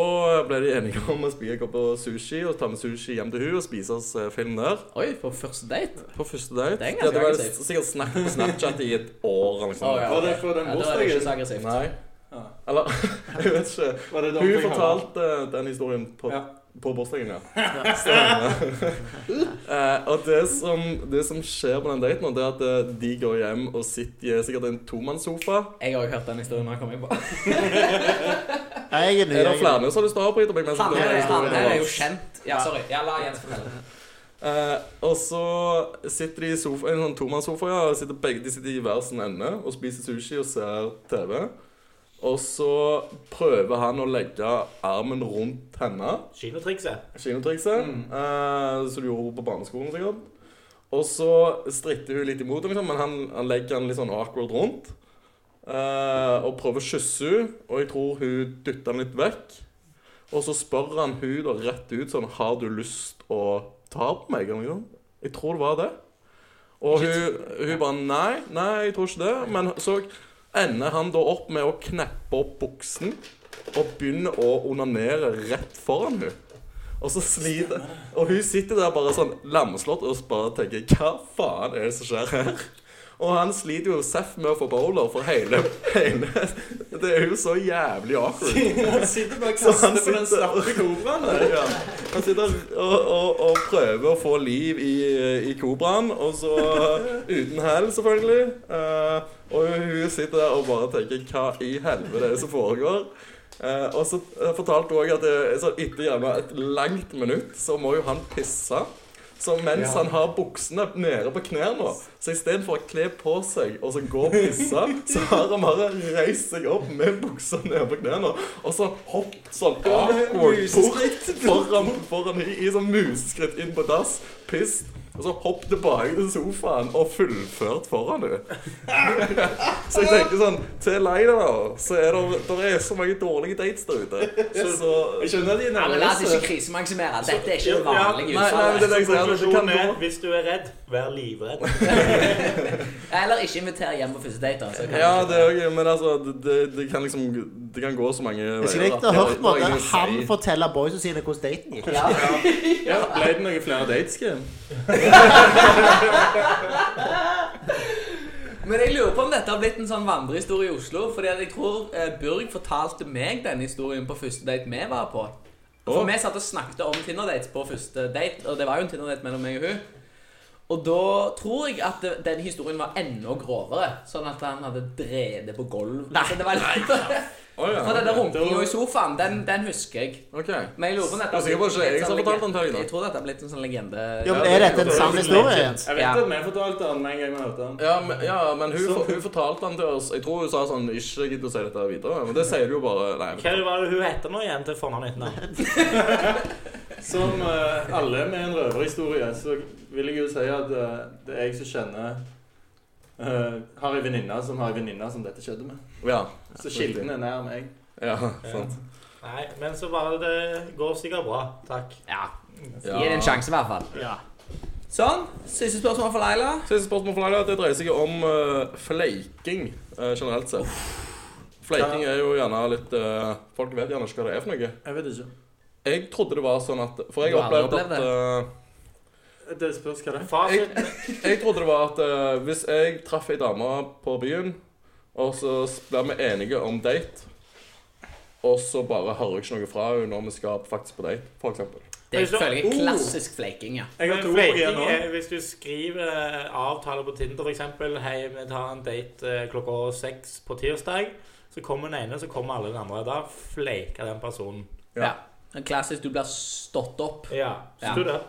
[SPEAKER 1] ble de enige om å spise en kopp av sushi og ta med sushi hjem til hun og spise oss eh, film der.
[SPEAKER 2] Oi, på første date?
[SPEAKER 1] På første date.
[SPEAKER 2] Det er
[SPEAKER 1] ja,
[SPEAKER 2] ganske
[SPEAKER 1] det var
[SPEAKER 2] aggressivt.
[SPEAKER 1] sikkert snakk på Snapchat i et år eller noe
[SPEAKER 2] Å,
[SPEAKER 1] sånt.
[SPEAKER 2] ja,
[SPEAKER 4] Var det
[SPEAKER 2] ok.
[SPEAKER 4] for den
[SPEAKER 2] ja, da er det ikke
[SPEAKER 4] bursdagen?
[SPEAKER 2] så aggressivt.
[SPEAKER 1] Nei.
[SPEAKER 4] Ja.
[SPEAKER 1] Eller jeg vet ikke.
[SPEAKER 4] Var det
[SPEAKER 1] Hun fortalte eh, den historien på,
[SPEAKER 4] Ja.
[SPEAKER 1] på bursdagen, ja. Stemmer. Eh, og det som, det som skjer på den daten, det er at eh, de går hjem og sitter i sikkert en tomannssofa.
[SPEAKER 2] Jeg har jo hørt den historien når jeg kom inn på.
[SPEAKER 5] Jeg
[SPEAKER 1] Er
[SPEAKER 5] er ny.
[SPEAKER 1] det
[SPEAKER 5] jeg er ny.
[SPEAKER 1] flere som har lyst til å avbryte meg? mens jeg
[SPEAKER 2] Han
[SPEAKER 1] forteller
[SPEAKER 2] er, han
[SPEAKER 1] historien?
[SPEAKER 2] er jo kjent. Ja, sorry. Ja, la Jens fortelle.
[SPEAKER 1] Eh, og så sitter de i sofa, en sånn tomannssofa, ja, og sitter begge, de sitter i hver sin ende og spiser sushi og ser TV. Og så prøver han å legge armen rundt henne.
[SPEAKER 3] Kinotrikset.
[SPEAKER 1] Kinotrikset. eh, som du gjorde på barneskolen, sikkert. Og så stritter hun litt imot, liksom, men han, han legger han litt sånn awkward rundt. eh, og prøver å kysse hun, og jeg tror hun dytter han litt vekk. Og så spør han hun da rett ut sånn Har du lyst å ta på meg? eller noe sånt? Jeg tror det var det. Og hun, hun bare Nei, nei, jeg tror ikke det. Men så ender han da opp med å kneppe opp buksen og begynner å onanere rett foran hun. Og så sliter Og hun sitter der bare sånn lamslått og bare tenker Hva faen er det som skjer her? Og han sliter jo seff med å få bowler for hele, hele Det er jo så jævlig awkward.
[SPEAKER 4] Han sitter bare og kaster på den slappe kobraen. der.
[SPEAKER 1] Ja. Han sitter og, og, og prøver å få liv i, i kobraen, og så uten hell, selvfølgelig. Eh, og hun sitter der og bare tenker Hva i helvete er det som foregår? Eh, og så eh, fortalte hun òg at det, så etter gjerne et langt minutt så må jo han pisse. Så mens han har buksene nede på knærne, så istedenfor å kle på seg og så gå og pisse, så har han bare reist seg opp med buksa nede på knærne og så hoppet sånn awkward bort foran, foran i, i sånn museskritt inn på dass, pist, og så hopp tilbake til sofaen og fullført foran henne. Så jeg tenker sånn Til Leila, da, så er det, der er så mange dårlige dates der ute. Så, så
[SPEAKER 4] Jeg skjønner de er
[SPEAKER 2] Ja, men La oss
[SPEAKER 4] nervøse.
[SPEAKER 2] ikke krisemaksimere. Dette er ikke det
[SPEAKER 3] Ja, ja.
[SPEAKER 2] vanlige
[SPEAKER 1] Nei, nei, men det
[SPEAKER 2] utfallet.
[SPEAKER 1] er liksom at det kan
[SPEAKER 3] Konklusjonen
[SPEAKER 1] gå
[SPEAKER 3] er hvis du er redd, vær livredd.
[SPEAKER 2] Eller ikke invitere hjem på første date. Altså.
[SPEAKER 1] Ja, det er ok, men altså det, det, det kan liksom Det kan gå så mange
[SPEAKER 5] Jeg skulle
[SPEAKER 1] at
[SPEAKER 5] likt å høre
[SPEAKER 1] det-
[SPEAKER 5] på
[SPEAKER 1] det er
[SPEAKER 5] at
[SPEAKER 1] ingen å
[SPEAKER 5] han
[SPEAKER 1] si.
[SPEAKER 5] forteller boysa sine hvordan daten gikk.
[SPEAKER 2] Ja.
[SPEAKER 4] Ja, Ble det noen flere dates, Kim?
[SPEAKER 2] Men jeg lurer på om dette har blitt en sånn vandrehistorie i Oslo. Fordi at jeg tror eh, Burg fortalte meg denne historien på første date vi var på. For
[SPEAKER 1] Å.
[SPEAKER 2] vi satt og snakket om Tinder-dates på første date, og det var jo en Tinder-date mellom meg og hun. Og da tror jeg at det, den historien var enda grovere, sånn at han hadde drevet på gulvet. Altså, det var litt...
[SPEAKER 1] Å, ja,
[SPEAKER 2] For denne
[SPEAKER 1] ok.
[SPEAKER 2] runkinga i sofaen, den, den husker jeg.
[SPEAKER 1] Ok.
[SPEAKER 2] Men jeg lurer på om dette
[SPEAKER 1] Jeg er sikker på at det er jeg som har fortalt den til deg, da.
[SPEAKER 2] sånn Jeg tror dette har blitt en sånn legende.
[SPEAKER 5] Jo, men Er dette en sann historie? Jens?
[SPEAKER 4] Jeg vet
[SPEAKER 2] Ja.
[SPEAKER 4] at vi fortalte den med en gang vi hørte den.
[SPEAKER 1] Ja, men, ja, men hun,
[SPEAKER 4] Så-
[SPEAKER 1] for, hun fortalte han til oss Jeg tror hun sa sånn Ikke gidd å si dette videre. Men det sier du jo bare Nei.
[SPEAKER 3] Hva var det hun heter nå igjen til fornavn og etternavn?
[SPEAKER 4] Som eh, alle med en røverhistorie, så vil jeg jo si at eh, det er jeg som kjenner eh, Har ei venninne som har ei venninne som dette skjedde med.
[SPEAKER 1] men- Ja.
[SPEAKER 4] Så kilden er nær meg.
[SPEAKER 1] ja sant.
[SPEAKER 3] Nei, men så bare det går sikkert bra. Takk.
[SPEAKER 2] Ja.
[SPEAKER 1] Ja.
[SPEAKER 2] Gi det en sjanse, i hvert fall.
[SPEAKER 5] Ja.
[SPEAKER 2] Sånn. Siste spørsmål for Laila.
[SPEAKER 1] Siste spørsmål for Laila. Det dreier seg om eh, fleiking eh, generelt sett. Fleiking er jo gjerne litt eh, Folk vet gjerne ikke hva det er for noe.
[SPEAKER 4] Jeg vet ikke.
[SPEAKER 1] Jeg trodde det var sånn at For jeg
[SPEAKER 2] Du har aldri
[SPEAKER 1] opplevde at eh,
[SPEAKER 4] Det spørs hva det er.
[SPEAKER 3] Fasiten
[SPEAKER 1] Jeg trodde det var at eh, hvis jeg traff ei dame på byen, og så ble vi enige om date, og så bare hører jeg ikke noe fra henne når vi skal faktisk på date, for eksempel.
[SPEAKER 2] Det
[SPEAKER 3] Jeg så-
[SPEAKER 2] føler jeg er
[SPEAKER 4] Oh.
[SPEAKER 2] klassisk flaking, ja.
[SPEAKER 4] Jeg har
[SPEAKER 3] Men
[SPEAKER 4] to ord igjen
[SPEAKER 3] fleiking
[SPEAKER 4] nå.
[SPEAKER 3] er hvis du skriver eh, avtaler på Tinder, f.eks. Hei, vi tar en date eh, klokka seks på tirsdag. Så kommer den ene, så kommer alle de andre. Da fleiker den personen.
[SPEAKER 1] Ja.
[SPEAKER 2] ja. En Klassisk du blir stått opp.
[SPEAKER 3] Ja.
[SPEAKER 2] Ja.
[SPEAKER 3] Stod det?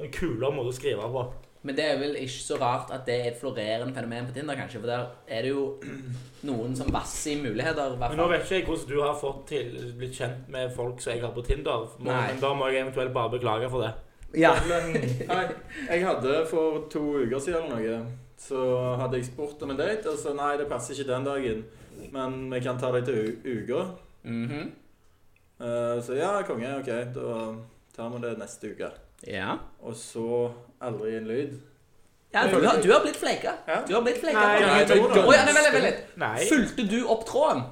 [SPEAKER 3] En kulere måte å skrive på.
[SPEAKER 2] Men det er vel ikke så rart at det er et florerende fenomen på Tinder, kanskje. For der er det jo noen som vasser i muligheter. i hvert
[SPEAKER 3] Men nå
[SPEAKER 2] fall.
[SPEAKER 3] vet ikke jeg hvordan du har fått til, blitt kjent med folk som jeg har på Tinder. Må,
[SPEAKER 2] Nei.
[SPEAKER 3] men da må jeg eventuelt bare beklage for det.
[SPEAKER 2] Ja.
[SPEAKER 4] Men nei, jeg hadde for to uker siden eller noe, så hadde jeg spurt om en date, og så nei, det passer ikke den dagen, men vi kan ta deg til u- uka.
[SPEAKER 2] Mhm.
[SPEAKER 4] Eh, så ja, konge, OK, da tar vi det neste uke.
[SPEAKER 2] ja.
[SPEAKER 4] Og så aldri en lyd.
[SPEAKER 2] ja du, har, du har blitt fleika.
[SPEAKER 4] Ja.
[SPEAKER 2] Du har blitt fleika.
[SPEAKER 3] Nei,
[SPEAKER 2] Å,
[SPEAKER 3] nei,
[SPEAKER 4] jeg tror det.
[SPEAKER 2] ja, nei, vent litt, vent litt.
[SPEAKER 3] Nei.
[SPEAKER 2] Fulgte du opp tråden?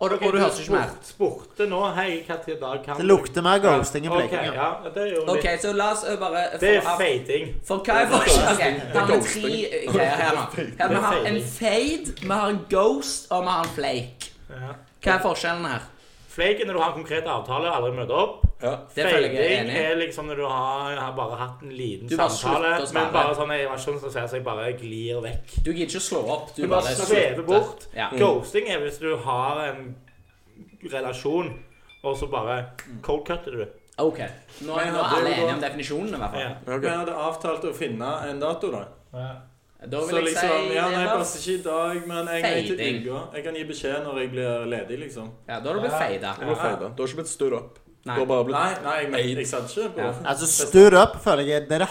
[SPEAKER 2] Og, og du hørte ikke mer?
[SPEAKER 3] Spurt- Spurte nå Hei, hva til dag kan
[SPEAKER 5] Det lukter mer ghosting enn
[SPEAKER 3] Ok,
[SPEAKER 5] bleking. ja.
[SPEAKER 3] Ja, det er jo litt
[SPEAKER 2] Ok, så la oss ø, bare
[SPEAKER 3] Det er
[SPEAKER 2] for,
[SPEAKER 3] feiting.
[SPEAKER 2] for hva er forskjellen? Okay, da har vi tre ø, greier her nå. Her, vi har en
[SPEAKER 3] Det er
[SPEAKER 2] fade, vi har en ghost, og vi har en flake.
[SPEAKER 3] Ja.
[SPEAKER 2] Hva er forskjellen her?
[SPEAKER 3] Fleik er når du har en konkret avtale og aldri møter opp.
[SPEAKER 1] Ja.
[SPEAKER 2] Det føler jeg er
[SPEAKER 3] Feiting
[SPEAKER 2] enig i.
[SPEAKER 3] er liksom når du har, har bare hatt en liten
[SPEAKER 2] Du bare
[SPEAKER 3] samtale,
[SPEAKER 2] slutter å svare.
[SPEAKER 3] men bare sånn jeg var sånn som ser seg bare glir vekk.
[SPEAKER 2] Du gidder ikke å slå opp. Du
[SPEAKER 3] Du bare
[SPEAKER 2] bare
[SPEAKER 3] svever bort.
[SPEAKER 2] Ja. Mm.
[SPEAKER 3] Ghosting er hvis du har en relasjon, og så bare cold cutter du.
[SPEAKER 2] Ok. Nå
[SPEAKER 4] Men
[SPEAKER 2] er
[SPEAKER 4] jeg
[SPEAKER 2] nå er
[SPEAKER 4] hadde
[SPEAKER 2] alle
[SPEAKER 4] jo da-
[SPEAKER 2] enige om definisjonen, i hvert fall.
[SPEAKER 3] Ja.
[SPEAKER 1] Ja, ok.
[SPEAKER 4] Vi hadde avtalt å finne en dato, da.
[SPEAKER 2] Da vil
[SPEAKER 4] Så
[SPEAKER 2] jeg
[SPEAKER 4] liksom
[SPEAKER 2] si
[SPEAKER 4] Ja,
[SPEAKER 2] det
[SPEAKER 4] nei,
[SPEAKER 2] var-
[SPEAKER 4] passer ikke i dag, men en gang til
[SPEAKER 2] Feiding.
[SPEAKER 4] uka. Jeg kan gi beskjed når jeg blir ledig, liksom.
[SPEAKER 2] Ja, da har du blitt
[SPEAKER 4] Ja.
[SPEAKER 2] feida.
[SPEAKER 1] Du har feida. Du har ikke blitt stood up. Du
[SPEAKER 2] Nei.
[SPEAKER 1] har bare blitt
[SPEAKER 4] Nei, nei, jeg, men, jeg satt ikke på
[SPEAKER 2] Ja.
[SPEAKER 5] Altså, stood up, føler jeg, det er det
[SPEAKER 1] Det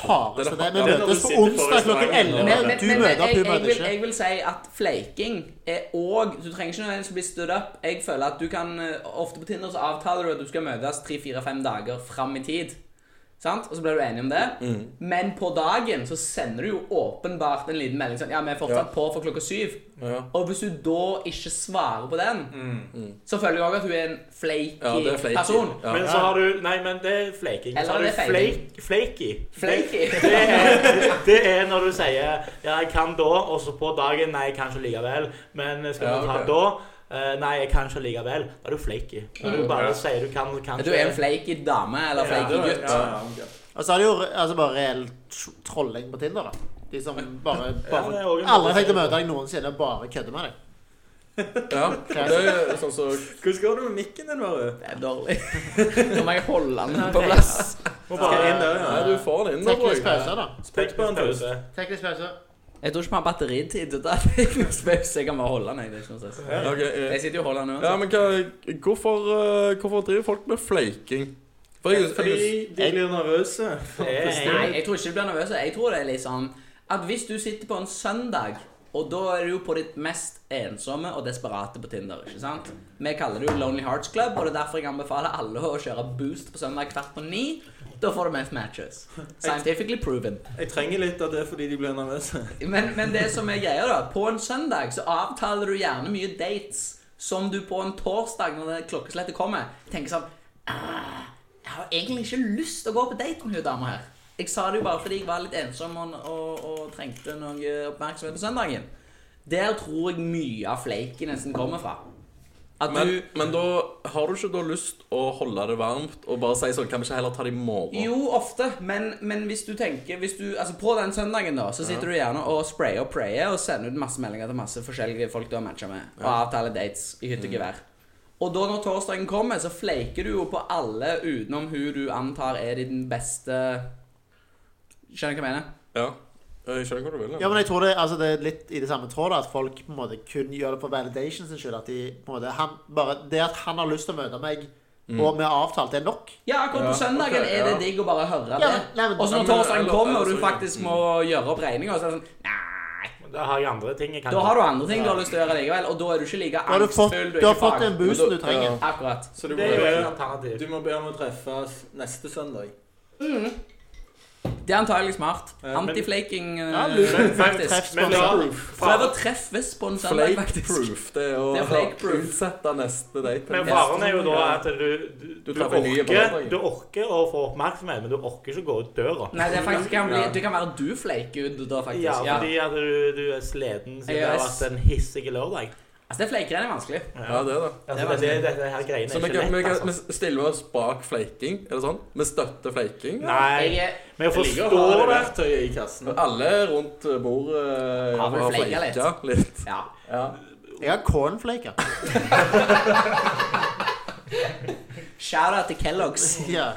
[SPEAKER 1] er
[SPEAKER 5] hardeste.
[SPEAKER 1] det
[SPEAKER 5] Det Vi
[SPEAKER 1] hardeste.
[SPEAKER 5] møtes
[SPEAKER 4] Ja, når du
[SPEAKER 5] på
[SPEAKER 4] sitter på
[SPEAKER 5] onsdag klokken
[SPEAKER 4] restauranten,
[SPEAKER 5] 11.
[SPEAKER 4] da.
[SPEAKER 2] Men, men,
[SPEAKER 5] Du
[SPEAKER 2] men, men
[SPEAKER 5] møter opp,
[SPEAKER 2] jeg,
[SPEAKER 5] hun
[SPEAKER 2] jeg,
[SPEAKER 5] møter
[SPEAKER 2] vil,
[SPEAKER 5] ikke.
[SPEAKER 2] jeg vil si at fleiking er òg Du trenger ikke nødvendigvis å bli stood up. Jeg føler at du kan eh, Ofte på Tinder så avtaler du at du skal møtes tre-fire-fem dager fram i tid. Sant? Og så blir du enig om det. Men på dagen så sender du jo åpenbart en liten melding sånn Ja, vi er fortsatt
[SPEAKER 1] Ja.
[SPEAKER 2] på for klokka syv.
[SPEAKER 1] ja.
[SPEAKER 2] Og hvis du da ikke svarer på den, så føler jeg òg at du er en flaky,
[SPEAKER 1] ja, det er flaky.
[SPEAKER 2] person.
[SPEAKER 1] Ja.
[SPEAKER 3] Men så har du Nei, men det er flaking.
[SPEAKER 2] Eller
[SPEAKER 3] Så har
[SPEAKER 2] det
[SPEAKER 3] du
[SPEAKER 2] er feiding.
[SPEAKER 3] flake, flaky.
[SPEAKER 2] Flaky.
[SPEAKER 3] Det er, det er når du sier 'ja, jeg kan da', og så på dagen 'nei, jeg kan ikke likevel', men skal
[SPEAKER 1] Ja,
[SPEAKER 3] du ta
[SPEAKER 1] ok.
[SPEAKER 3] da? eh, Nei, jeg kan ikke likevel. Da er du flaky. Når du bare
[SPEAKER 4] Ja.
[SPEAKER 3] sier du kan, kan
[SPEAKER 2] Du er en flaky dame eller
[SPEAKER 3] Ja,
[SPEAKER 2] flaky
[SPEAKER 3] du er-
[SPEAKER 2] gutt.
[SPEAKER 4] Ja, ja, ok.
[SPEAKER 5] Og så er det jo altså, bare reell tr- trolling på Tinder, da. De som bare,
[SPEAKER 3] Ja, det
[SPEAKER 5] bare
[SPEAKER 3] er også en
[SPEAKER 5] Aldri
[SPEAKER 3] måte å si
[SPEAKER 5] tenkt å
[SPEAKER 3] det på.
[SPEAKER 5] møte deg noensinne, bare kødder med deg.
[SPEAKER 1] ja. Det er sånn som
[SPEAKER 4] Hvordan går det med mikken din, Mare?
[SPEAKER 2] Det er dårlig. Nå må jeg holde den på plass.
[SPEAKER 3] Må
[SPEAKER 4] Skal jeg inn
[SPEAKER 3] bare
[SPEAKER 4] der, ja?
[SPEAKER 1] Nei, du får den inn, da,
[SPEAKER 5] Teknisk
[SPEAKER 1] bror.
[SPEAKER 5] pause, da.
[SPEAKER 4] Putt på en pause.
[SPEAKER 5] Teknisk pause.
[SPEAKER 2] Jeg tror ikke vi har batteritid til det. Det er ikke noe spaus. Jeg kan bare holde den. jeg. Det er ikke noe stress.
[SPEAKER 1] Ja, ok, eh.
[SPEAKER 2] Jeg sitter jo og holder den
[SPEAKER 1] Ja,
[SPEAKER 2] uansett.
[SPEAKER 1] men hva, hvorfor, eh, hvorfor driver folk med flaking? For jeg, jeg,
[SPEAKER 4] Fordi de blir nervøse.
[SPEAKER 2] Nei, jeg tror ikke du blir nervøs. Jeg tror det er liksom at hvis du sitter på en søndag, og da er du jo på ditt mest ensomme og desperate på Tinder, ikke sant? Vi kaller det jo Lonely Hearts Club, og det er derfor jeg anbefaler alle å kjøre boost på søndag kvart på ni. Da får du mest matches. Scientifically proven.
[SPEAKER 4] Jeg trenger litt av det fordi de blir nervøse.
[SPEAKER 2] Men, men det som er greia, da På en søndag så avtaler du gjerne mye dates som du på en torsdag, når det klokkeslettet kommer, tenker sånn «Ah, Jeg har egentlig ikke lyst til å gå på date med hun dama her. Jeg sa det jo bare fordi jeg var litt ensom og, og, og trengte noe oppmerksomhet på søndagen. Der tror jeg mye av flaken nesten kommer fra. At
[SPEAKER 1] men,
[SPEAKER 2] du
[SPEAKER 1] men da har du ikke da lyst å holde det varmt og bare si sånn Kan vi ikke heller ta det i morgen?
[SPEAKER 2] Jo, ofte, men, men hvis du tenker hvis du, altså På den søndagen, da, så sitter du gjerne og sprayer og prayer og sender ut masse meldinger til masse forskjellige folk du har matcha med, og avtaler dates i
[SPEAKER 5] Mm.
[SPEAKER 2] hytte og gevær. Og da når torsdagen kommer, så fleiker du jo på alle utenom hun du antar er din beste Skjønner du hva jeg mener?
[SPEAKER 1] Ja. Eh, Jeg skjønner hva du vil.
[SPEAKER 5] Ja, men jeg tror det, altså, det er litt i det samme trådet at folk på en måte kun gjør det for validation sin skyld. At de, på en måte, han, bare, det at han har lyst til å møte meg,
[SPEAKER 4] Mm.
[SPEAKER 5] og vi har avtalt, det er nok.
[SPEAKER 2] Ja, akkurat
[SPEAKER 1] Ja,
[SPEAKER 2] på søndagen
[SPEAKER 1] ok,
[SPEAKER 2] er det
[SPEAKER 1] ja.
[SPEAKER 2] digg å bare høre
[SPEAKER 5] Ja, altså,
[SPEAKER 2] det.
[SPEAKER 5] men- nei, men-
[SPEAKER 2] Og så
[SPEAKER 1] Ja,
[SPEAKER 2] når
[SPEAKER 1] men-
[SPEAKER 2] torsdagen
[SPEAKER 1] eller-
[SPEAKER 2] kommer, og
[SPEAKER 1] eller
[SPEAKER 2] du
[SPEAKER 1] så-
[SPEAKER 2] faktisk må
[SPEAKER 5] mm.
[SPEAKER 2] gjøre opp regninga, så er det sånn Nei.
[SPEAKER 3] Da har jeg andre ting jeg kan
[SPEAKER 2] Da har du andre ting du har lyst til å gjøre likevel, og da er du ikke like
[SPEAKER 5] Da har du fått,
[SPEAKER 2] angstfull.
[SPEAKER 5] du har fått
[SPEAKER 2] fag-
[SPEAKER 5] den boosten du trenger.
[SPEAKER 2] Akkurat.
[SPEAKER 4] Så du
[SPEAKER 3] Det
[SPEAKER 4] må,
[SPEAKER 3] er jo et
[SPEAKER 4] be,
[SPEAKER 3] alternativ.
[SPEAKER 4] du må be om å treffes neste søndag.
[SPEAKER 2] Det er antagelig smart.
[SPEAKER 4] Ja, men-
[SPEAKER 2] Anti-flaking eh,
[SPEAKER 5] Ja, lurer.
[SPEAKER 2] faktisk.
[SPEAKER 5] Men
[SPEAKER 3] ja,
[SPEAKER 2] Prøv å
[SPEAKER 3] faren,
[SPEAKER 2] treffes på en søndag,
[SPEAKER 1] Flake
[SPEAKER 2] Sånn faktisk.
[SPEAKER 1] proof. Det er å
[SPEAKER 2] Det er flake proof.
[SPEAKER 1] utsette neste date.
[SPEAKER 3] men faren er jo da at du, du,
[SPEAKER 1] Du
[SPEAKER 3] du,
[SPEAKER 1] treffer nye på
[SPEAKER 3] orker,
[SPEAKER 1] hverandre.
[SPEAKER 3] du orker å få oppmerksomhet, men du orker ikke å gå ut døra.
[SPEAKER 2] Nei, det, er faktisk, kan bli, det kan være du flaker ut da, faktisk.
[SPEAKER 3] Ja,
[SPEAKER 2] Ja.
[SPEAKER 3] fordi at du, du er sliten siden
[SPEAKER 2] Jeg
[SPEAKER 3] det
[SPEAKER 2] er
[SPEAKER 3] har
[SPEAKER 2] s-
[SPEAKER 3] vært en hissig lørdag.
[SPEAKER 2] Altså, det flakerennet er vanskelig.
[SPEAKER 1] Ja, det er det.
[SPEAKER 3] Altså,
[SPEAKER 2] Det var
[SPEAKER 3] det, det, dette her greiene
[SPEAKER 1] Så vi,
[SPEAKER 3] er ikke
[SPEAKER 1] kan, vi,
[SPEAKER 3] lett,
[SPEAKER 1] kan,
[SPEAKER 3] altså.
[SPEAKER 1] vi stiller oss bak flaking, er det sånn? Vi støtter flaking. ja.
[SPEAKER 3] Nei,
[SPEAKER 2] Jeg eh, er
[SPEAKER 3] men jeg
[SPEAKER 4] Jeg liker å ha
[SPEAKER 3] forstår
[SPEAKER 4] det
[SPEAKER 3] det.
[SPEAKER 4] verktøyet i kassen.
[SPEAKER 1] Alle rundt bordet eh,
[SPEAKER 2] Har vel flaket litt.
[SPEAKER 1] flaket litt.
[SPEAKER 2] Ja.
[SPEAKER 1] Ja.
[SPEAKER 5] Jeg har cornflaker.
[SPEAKER 2] Shout-out til Kellogg's.
[SPEAKER 5] Ja.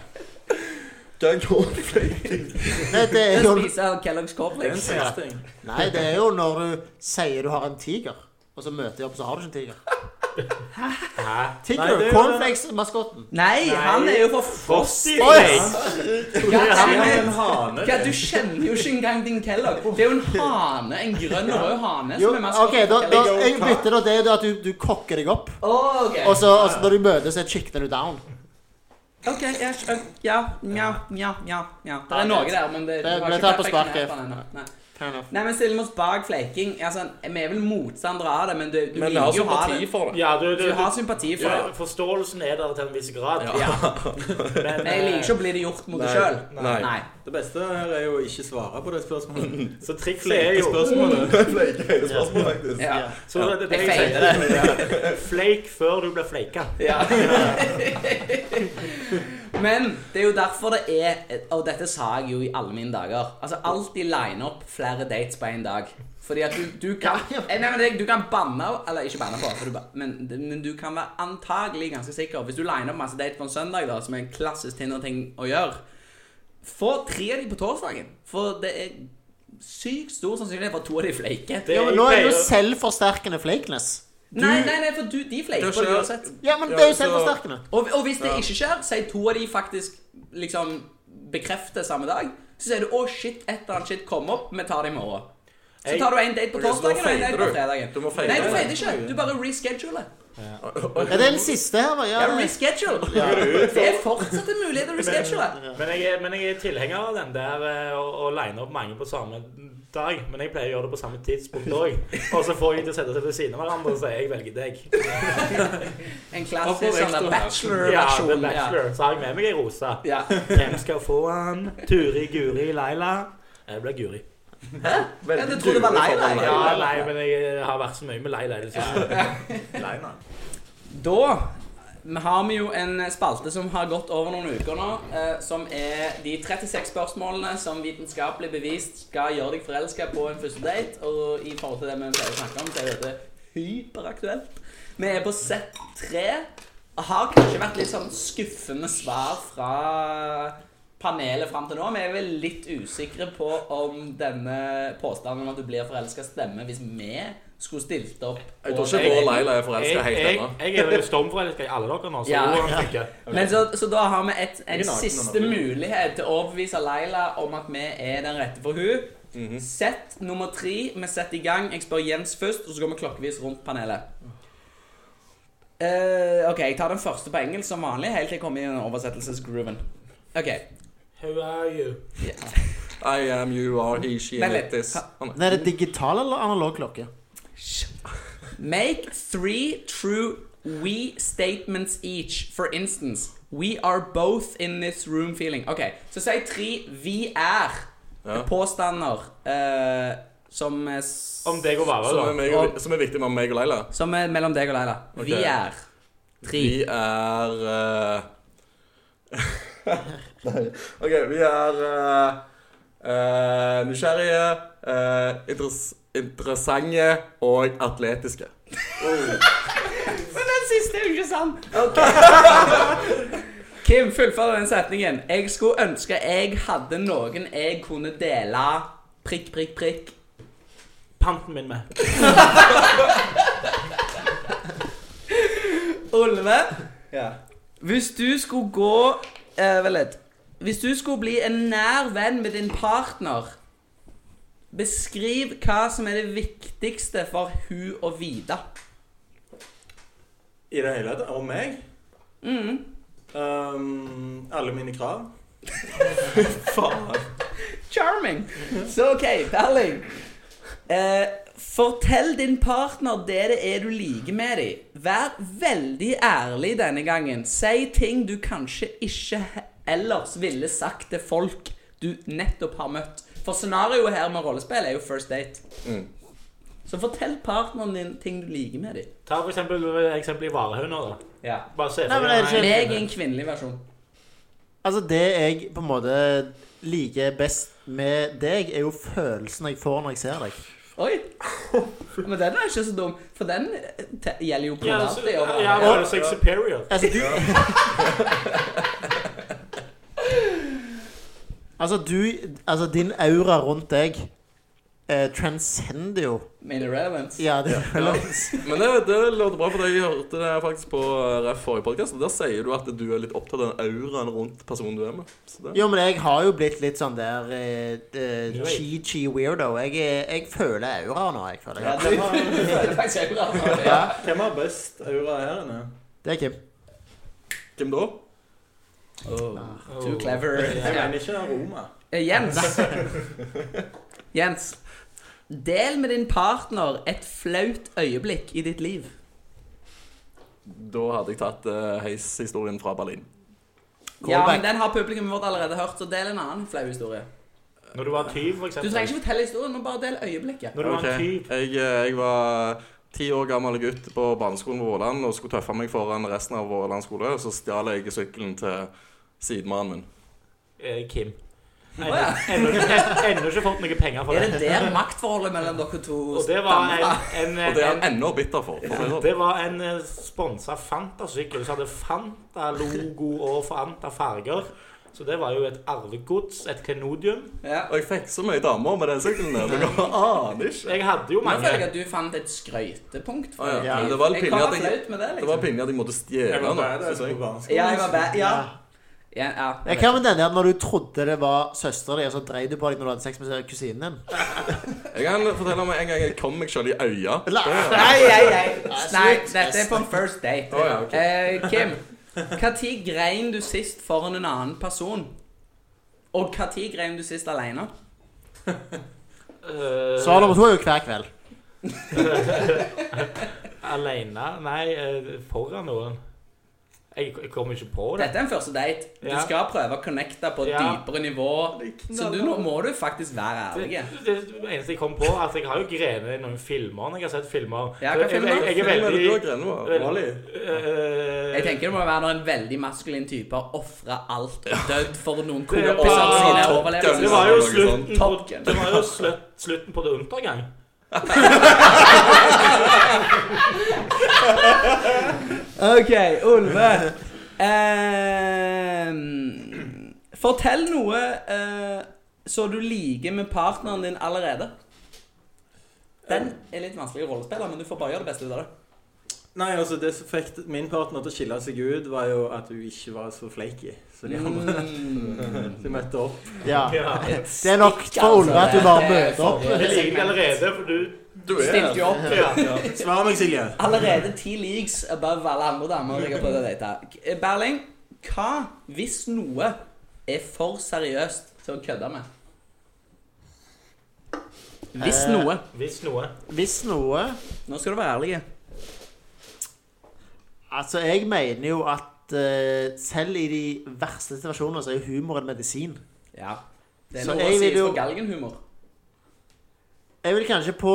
[SPEAKER 1] Hva er cornflaking?
[SPEAKER 5] Nei, det er jo,
[SPEAKER 2] Spiser han Kellogg's
[SPEAKER 4] Det er en
[SPEAKER 2] cornflakes.
[SPEAKER 4] sexting.
[SPEAKER 5] nei, det er jo når du sier du har en tiger, og så møter jeg opp, så har du ikke en tiger.
[SPEAKER 3] Hæ?
[SPEAKER 4] Nei,
[SPEAKER 5] Tiger,
[SPEAKER 4] det er jo-
[SPEAKER 5] cornflakes-maskotten.
[SPEAKER 2] Nei, han er jo for
[SPEAKER 3] Frosty
[SPEAKER 2] frosty.
[SPEAKER 3] Flakes.
[SPEAKER 2] Ja,
[SPEAKER 4] Han
[SPEAKER 2] nei,
[SPEAKER 4] har
[SPEAKER 2] men-
[SPEAKER 4] en hane.
[SPEAKER 2] Hva, du kjenner jo ikke engang din Kellogg. Det er jo en hane, en grønn og rød hane.
[SPEAKER 5] Jo,
[SPEAKER 2] som er maskotten
[SPEAKER 5] ok,
[SPEAKER 2] til
[SPEAKER 5] da, da,
[SPEAKER 2] Kellogg's.
[SPEAKER 5] jeg bytter da det er at du, du kokker deg opp,
[SPEAKER 2] Å, ok.
[SPEAKER 5] og så, og så når du møtes, så chicken du down.
[SPEAKER 2] Ok, jeg skjønner. Ja, ja, ja, ja, ja. Det er noe der, men det,
[SPEAKER 5] Det
[SPEAKER 2] du har
[SPEAKER 5] ble
[SPEAKER 2] ikke
[SPEAKER 5] tatt på
[SPEAKER 2] perfeksjonert
[SPEAKER 5] sparket.
[SPEAKER 2] den ennå. Nei.
[SPEAKER 5] Fair enough.
[SPEAKER 2] Nei, men stille oss bak flaking. Altså, vi er vel motstandere av det, men du, du
[SPEAKER 1] Men vi
[SPEAKER 2] liker
[SPEAKER 1] har
[SPEAKER 2] jo å ha
[SPEAKER 1] sympati
[SPEAKER 2] det.
[SPEAKER 1] for det.
[SPEAKER 3] Ja, du, du,
[SPEAKER 2] Du har sympati for
[SPEAKER 3] ja,
[SPEAKER 2] det.
[SPEAKER 3] forståelsen er der til en viss grad.
[SPEAKER 1] Ja.
[SPEAKER 3] Men,
[SPEAKER 2] Men jeg liker ikke å bli det gjort mot deg sjøl.
[SPEAKER 1] Nei.
[SPEAKER 2] Nei.
[SPEAKER 4] Det beste her er jo å ikke svare på det spørsmålet.
[SPEAKER 3] eh, Så trikset er
[SPEAKER 4] Flake
[SPEAKER 3] jo
[SPEAKER 4] spørsmålet.
[SPEAKER 1] Flake er et spørsmål, faktisk.
[SPEAKER 2] Ja.
[SPEAKER 3] så det, det,
[SPEAKER 2] Jeg
[SPEAKER 3] jeg
[SPEAKER 2] feiler
[SPEAKER 3] sier, Flake før du blir flaka.
[SPEAKER 2] Ja. Men det er jo derfor det er Og dette sa jeg jo i alle mine dager. Altså Alltid line opp flere dates på én dag. Fordi at du, du kan
[SPEAKER 5] Ja, ja.
[SPEAKER 2] Eh, Nei, men det- Du kan banne Eller ikke banne på, for du, ba- men, men du kan være antagelig ganske sikker. Hvis du liner opp masse dates på en søndag, da som er en klassisk Tinder-ting å gjøre, få tre av de på torsdagen. For det er sykt stor sannsynlighet for at to av de fleiker.
[SPEAKER 3] Det
[SPEAKER 5] Ja, men nå er det jo
[SPEAKER 3] pleier-
[SPEAKER 5] selvforsterkende flakeness.
[SPEAKER 2] Nei, nei, nei, for du, de fleiker
[SPEAKER 1] Det
[SPEAKER 2] på det
[SPEAKER 1] skjer.
[SPEAKER 2] uansett.
[SPEAKER 5] Ja, men
[SPEAKER 1] Ja,
[SPEAKER 5] det er jo
[SPEAKER 1] så-
[SPEAKER 5] selvforsterkende.
[SPEAKER 2] Og, og hvis det ikke skjer, sier to av de faktisk liksom bekrefter samme dag. Så sier du 'Å, shit, et eller annet shit, kom opp, vi tar det i morgen'. Så
[SPEAKER 3] Jeg-
[SPEAKER 2] tar du en date på
[SPEAKER 1] Ok, så da
[SPEAKER 2] torsdagen og en
[SPEAKER 1] fader
[SPEAKER 2] date på
[SPEAKER 1] du.
[SPEAKER 2] fredagen.
[SPEAKER 1] Du må fade
[SPEAKER 2] Nei, du
[SPEAKER 1] det.
[SPEAKER 2] fader ikke. Du bare rescheduler.
[SPEAKER 5] Ja, det er den siste her, hva?
[SPEAKER 2] Ja,
[SPEAKER 5] Ja, det-
[SPEAKER 2] reschedule. Det er fortsatt en mulighet å reschedule.
[SPEAKER 3] Men jeg, er- men jeg er tilhenger av den der eh, å, å line opp mange på samme dag. Men jeg pleier å gjøre det på samme tidspunkt òg. Og så får jeg de til å sette seg ved siden av hverandre og si 'jeg velger deg'.
[SPEAKER 2] En
[SPEAKER 1] Oppe
[SPEAKER 2] klassisk
[SPEAKER 1] og
[SPEAKER 2] sånn
[SPEAKER 1] vekst,
[SPEAKER 2] der
[SPEAKER 3] Ja, The
[SPEAKER 2] bachelor-versjon. Ja,
[SPEAKER 3] Bachelor. Så har jeg med meg ei rose.
[SPEAKER 2] ja.
[SPEAKER 3] Hvem skal få han? Turi, Guri, Laila? Jeg blir Guri.
[SPEAKER 2] Ja, du trodde det var lei deg?
[SPEAKER 3] Ja, nei, men jeg eh, har vært så mye med Laila i det siste.
[SPEAKER 2] Da har vi jo en spalte som har gått over noen uker nå, eh, som er de 36 spørsmålene som vitenskapelig bevist skal gjøre deg forelska på en første date. Og i forhold til det vi pleier å snakke om, så er dette hyperaktuelt. Vi er på sett tre. og Har kanskje vært litt sånn skuffende svar fra panelet fram til nå. Vi er vel litt usikre på om denne påstanden om at du blir forelska, stemmer hvis vi skulle stilt opp.
[SPEAKER 1] Jeg tror
[SPEAKER 2] og-
[SPEAKER 1] ikke vår Leila er
[SPEAKER 3] Jeg,
[SPEAKER 1] forelska helt
[SPEAKER 3] jeg,
[SPEAKER 1] ennå.
[SPEAKER 3] jeg er jo stormforelska i alle dere nå, så
[SPEAKER 2] Ja.
[SPEAKER 3] hvordan tenker jeg?
[SPEAKER 2] Men så, så da har vi et, en
[SPEAKER 4] Ikke naken,
[SPEAKER 2] siste
[SPEAKER 4] men naken.
[SPEAKER 2] mulighet til å overbevise Laila om at vi er den rette for hun.
[SPEAKER 1] Mhm.
[SPEAKER 2] Sett nummer tre. Vi setter i gang. Jeg spør Jens først, og så går vi klokkevis rundt panelet. Eh, OK, jeg tar den første på engelsk som vanlig, helt til jeg kommer i den oversettelsesgrooven. OK.
[SPEAKER 3] Who are you?
[SPEAKER 1] I am, you are, he, she,
[SPEAKER 2] Vent
[SPEAKER 1] and
[SPEAKER 2] litt.
[SPEAKER 1] it is.
[SPEAKER 2] Ha-
[SPEAKER 1] Å, nei.
[SPEAKER 5] Men Er det digital eller analog klokke?
[SPEAKER 2] Make three true we statements each. For instance, we are both in this room feeling. Ok, så si tre vi er
[SPEAKER 1] Ja.
[SPEAKER 2] påstander eh, som, er s-
[SPEAKER 3] Om deg og
[SPEAKER 1] Som er,
[SPEAKER 3] varer, da.
[SPEAKER 1] meg og, som er viktig med meg og Leila.
[SPEAKER 2] som er mellom deg og Leila. Vi
[SPEAKER 1] Ok.
[SPEAKER 2] er tre.
[SPEAKER 1] Vi er eh, Nei. OK, vi er eh, eh, nysgjerrige, eh, interes interessante og atletiske.
[SPEAKER 2] Men den siste er jo ikke sann! Kim, fullfør den setningen. Jeg skulle ønske jeg hadde noen jeg kunne dele prikk, prikk, prikk.
[SPEAKER 3] Panten min med.
[SPEAKER 2] Olve, Hvis du skulle gå eh, Vel litt Hvis du skulle bli en nær venn med din partner Beskriv hva som er det viktigste for hun å vite
[SPEAKER 4] I det hele tatt. Og meg.
[SPEAKER 2] Mm.
[SPEAKER 4] Um, alle mine krav.
[SPEAKER 2] Charming Så ok, darling eh, Fortell din partner det det er du liker med dem Vær veldig ærlig denne gangen Si ting du kanskje ikke he- ellers ville sagt til folk du nettopp har møtt For scenarioet her med rollespill er jo first date
[SPEAKER 1] Mm.
[SPEAKER 2] Så fortell partneren din ting du liker med dem
[SPEAKER 3] Ta for eksempel eksempelet i varehunder, da.
[SPEAKER 2] Ja
[SPEAKER 3] Bare se
[SPEAKER 5] Nei, men er det ikke-
[SPEAKER 2] Meg i en kvinnelig versjon
[SPEAKER 5] Altså, det jeg på en måte liker best med deg, er jo følelsen jeg får når jeg ser deg.
[SPEAKER 2] Oi Men den er ikke så dum For den eh, te- gjelder jo på
[SPEAKER 3] Ja,
[SPEAKER 2] en
[SPEAKER 3] så-
[SPEAKER 2] måte
[SPEAKER 3] ja,
[SPEAKER 2] overalt.
[SPEAKER 3] men er det seg superior.
[SPEAKER 5] Altså, du Altså, du Altså, din aura rundt deg eh, transcender jo
[SPEAKER 2] Main irrelevance
[SPEAKER 5] Ja, det eller-
[SPEAKER 1] Men det, det låter bra, for jeg hørte det faktisk på eh, forrige podkast. Der sier du at du er litt opptatt av den auraen rundt personen du er med. Så det.
[SPEAKER 5] Jo, men jeg har jo blitt litt sånn der eh, eh,
[SPEAKER 3] Du vet.
[SPEAKER 5] chi-chi weirdo. Jeg, er- jeg føler aura nå, jeg føler.
[SPEAKER 2] Ja,
[SPEAKER 5] jeg.
[SPEAKER 2] det føler faktisk jeg bra.
[SPEAKER 5] Ja,
[SPEAKER 4] Hvem har best aura her inne?
[SPEAKER 5] det er Kim.
[SPEAKER 1] Hvem da?
[SPEAKER 4] Oh.
[SPEAKER 2] Too clever.
[SPEAKER 4] Jeg mener ikke aroma.
[SPEAKER 2] Eh, Jens. Jens. Del med din partner et flaut øyeblikk i ditt liv.
[SPEAKER 1] Da hadde jeg tatt eh, heishistorien fra Berlin.
[SPEAKER 2] Ja,
[SPEAKER 5] Callback.
[SPEAKER 2] men Den har publikummet vårt allerede hørt, så del en annen flau historie.
[SPEAKER 3] Når du var tyv, for
[SPEAKER 2] Du
[SPEAKER 3] eksempel.
[SPEAKER 2] trenger ikke fortelle historien, men bare del øyeblikket.
[SPEAKER 3] Når du var
[SPEAKER 1] Ok.
[SPEAKER 3] en tyv.
[SPEAKER 1] Jeg, eh, jeg var ti år gammel gutt på barneskolen på Våland og skulle tøffe meg foran resten av Våland skole. Så stjal jeg sykkelen til sidemannen min.
[SPEAKER 3] Eh, Kim.
[SPEAKER 2] Å, ja.
[SPEAKER 3] Ennå ikke- ennå ikke fått noe penger for
[SPEAKER 2] Er
[SPEAKER 3] det.
[SPEAKER 2] det der maktforholdet mellom dere to
[SPEAKER 3] Og det var en,
[SPEAKER 2] stammer?
[SPEAKER 3] en,
[SPEAKER 1] Og det er
[SPEAKER 3] en,
[SPEAKER 1] han ennå bitter for. for å si det sånn.
[SPEAKER 3] det var en eh, sponsa Fanta-sykkel som hadde Fanta-logo og Fanta-farger. Så det var jo et arvegods, et klenodium.
[SPEAKER 2] Ja.
[SPEAKER 1] Og jeg fikk så mye damer med den sykkelen der. Dere aner ikke.
[SPEAKER 3] Jeg hadde jo
[SPEAKER 2] Nå
[SPEAKER 3] mange.
[SPEAKER 2] føler jeg at du fant et skrytepunkt. for
[SPEAKER 1] Å, ja.
[SPEAKER 2] deg.
[SPEAKER 1] Men det var litt
[SPEAKER 2] jeg
[SPEAKER 1] pinlig
[SPEAKER 2] kan
[SPEAKER 1] at
[SPEAKER 2] være
[SPEAKER 1] jeg,
[SPEAKER 2] flaut med det,
[SPEAKER 1] det var
[SPEAKER 2] liksom.
[SPEAKER 1] pinlig at jeg måtte
[SPEAKER 4] Jeg
[SPEAKER 1] stjele
[SPEAKER 4] var
[SPEAKER 1] noe.
[SPEAKER 4] bare der
[SPEAKER 1] synes jeg.
[SPEAKER 4] på barneskolen.
[SPEAKER 2] Ja, jeg var bad. Ja. ja, ja.
[SPEAKER 5] Ja, Hva med denne at når du trodde det var søsteren din, og så dreide du på deg når du hadde sex med kusinen din?
[SPEAKER 1] Jeg kan fortelle om en gang jeg kom meg selv i øya.
[SPEAKER 5] La-
[SPEAKER 2] Nei, nei, nei.
[SPEAKER 5] Nei,
[SPEAKER 2] nei,
[SPEAKER 5] slutt.
[SPEAKER 2] dette er på en first date.
[SPEAKER 1] Å, ja, ok.
[SPEAKER 2] eh, Kim, når grein du sist foran en annen person? Og når grein du sist alene?
[SPEAKER 3] Eh,
[SPEAKER 5] Svar nummer to er jo hver kveld.
[SPEAKER 3] Alene? Nei, eh, foran noen. Jeg jeg kommer ikke på det.
[SPEAKER 2] Dette er en første date. Du
[SPEAKER 3] Ja.
[SPEAKER 2] skal prøve å connecte på et
[SPEAKER 3] Ja.
[SPEAKER 2] dypere nivå. Så du, nå må du faktisk være
[SPEAKER 3] Det,
[SPEAKER 2] ærlig.
[SPEAKER 3] det, det eneste jeg kom på, at jeg har jo grenet i noen filmer når jeg har sett filmer.
[SPEAKER 2] Ja,
[SPEAKER 3] Så
[SPEAKER 2] hva
[SPEAKER 3] jeg,
[SPEAKER 2] filmer?
[SPEAKER 3] jeg, jeg er
[SPEAKER 1] Hvem er det du har
[SPEAKER 3] veldig
[SPEAKER 1] grenet med?
[SPEAKER 3] Vel-
[SPEAKER 1] Wall-E?
[SPEAKER 3] eh,
[SPEAKER 2] Jeg tenker det må være når en veldig maskulin type har ofra alt og dødd for noen
[SPEAKER 3] Det var-
[SPEAKER 2] kompiser sine
[SPEAKER 3] Top
[SPEAKER 1] Gun.
[SPEAKER 2] overlevelser.
[SPEAKER 3] Det var jo
[SPEAKER 1] Noe sånt.
[SPEAKER 3] slutten på,
[SPEAKER 2] Top Gun.
[SPEAKER 3] det var jo slutt, slutten på det undergang.
[SPEAKER 2] Ok, Ulve. Ehm, fortell noe eh, så du liker med partneren din allerede. Den er litt vanskelig å rollespille, men du får bare gjøre det beste ut av det.
[SPEAKER 4] Nei, altså Det som fikk min partner til å skille seg ut, var jo at hun ikke var så flaky. Så de andre
[SPEAKER 2] Mm.
[SPEAKER 4] de møtte opp.
[SPEAKER 5] Ja.
[SPEAKER 3] Ja.
[SPEAKER 5] Det er nok for Olve at du bare møter opp.
[SPEAKER 3] Jeg liker det allerede, for du
[SPEAKER 1] Du
[SPEAKER 2] Stilte jo opp.
[SPEAKER 3] ja.
[SPEAKER 4] Svar meg, Silje.
[SPEAKER 2] Allerede ti leagues above alle andre damer jeg har prøvd å date. Berling, hva hvis noe er for seriøst til å kødde med? Hvis
[SPEAKER 5] Eh.
[SPEAKER 2] noe.
[SPEAKER 3] Hvis noe.
[SPEAKER 5] Hvis noe
[SPEAKER 2] Nå skal du være ærlig.
[SPEAKER 5] Altså, jeg mener jo at eh, selv i de verste situasjoner så er jo humor en medisin.
[SPEAKER 2] Ja. Det er
[SPEAKER 5] Så
[SPEAKER 2] noe å
[SPEAKER 5] jeg
[SPEAKER 2] si
[SPEAKER 5] vil jo-
[SPEAKER 2] på galgenhumor.
[SPEAKER 5] Jeg vil kanskje på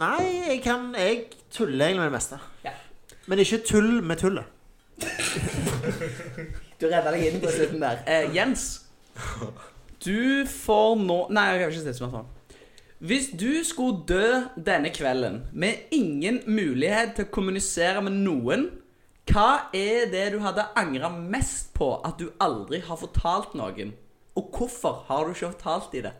[SPEAKER 5] Nei, jeg kan Jeg tuller egentlig med det meste.
[SPEAKER 2] Ja.
[SPEAKER 5] Men ikke tull med tullet.
[SPEAKER 2] Du redda deg inn på slutten der. Eh, Jens, du får nå Nei, jeg kan ikke stille spørsmål. Hvis du skulle dø denne kvelden med ingen mulighet til å kommunisere med noen, hva er det du hadde angra mest på at du aldri har fortalt noen? Og hvorfor har du ikke fortalt dem det?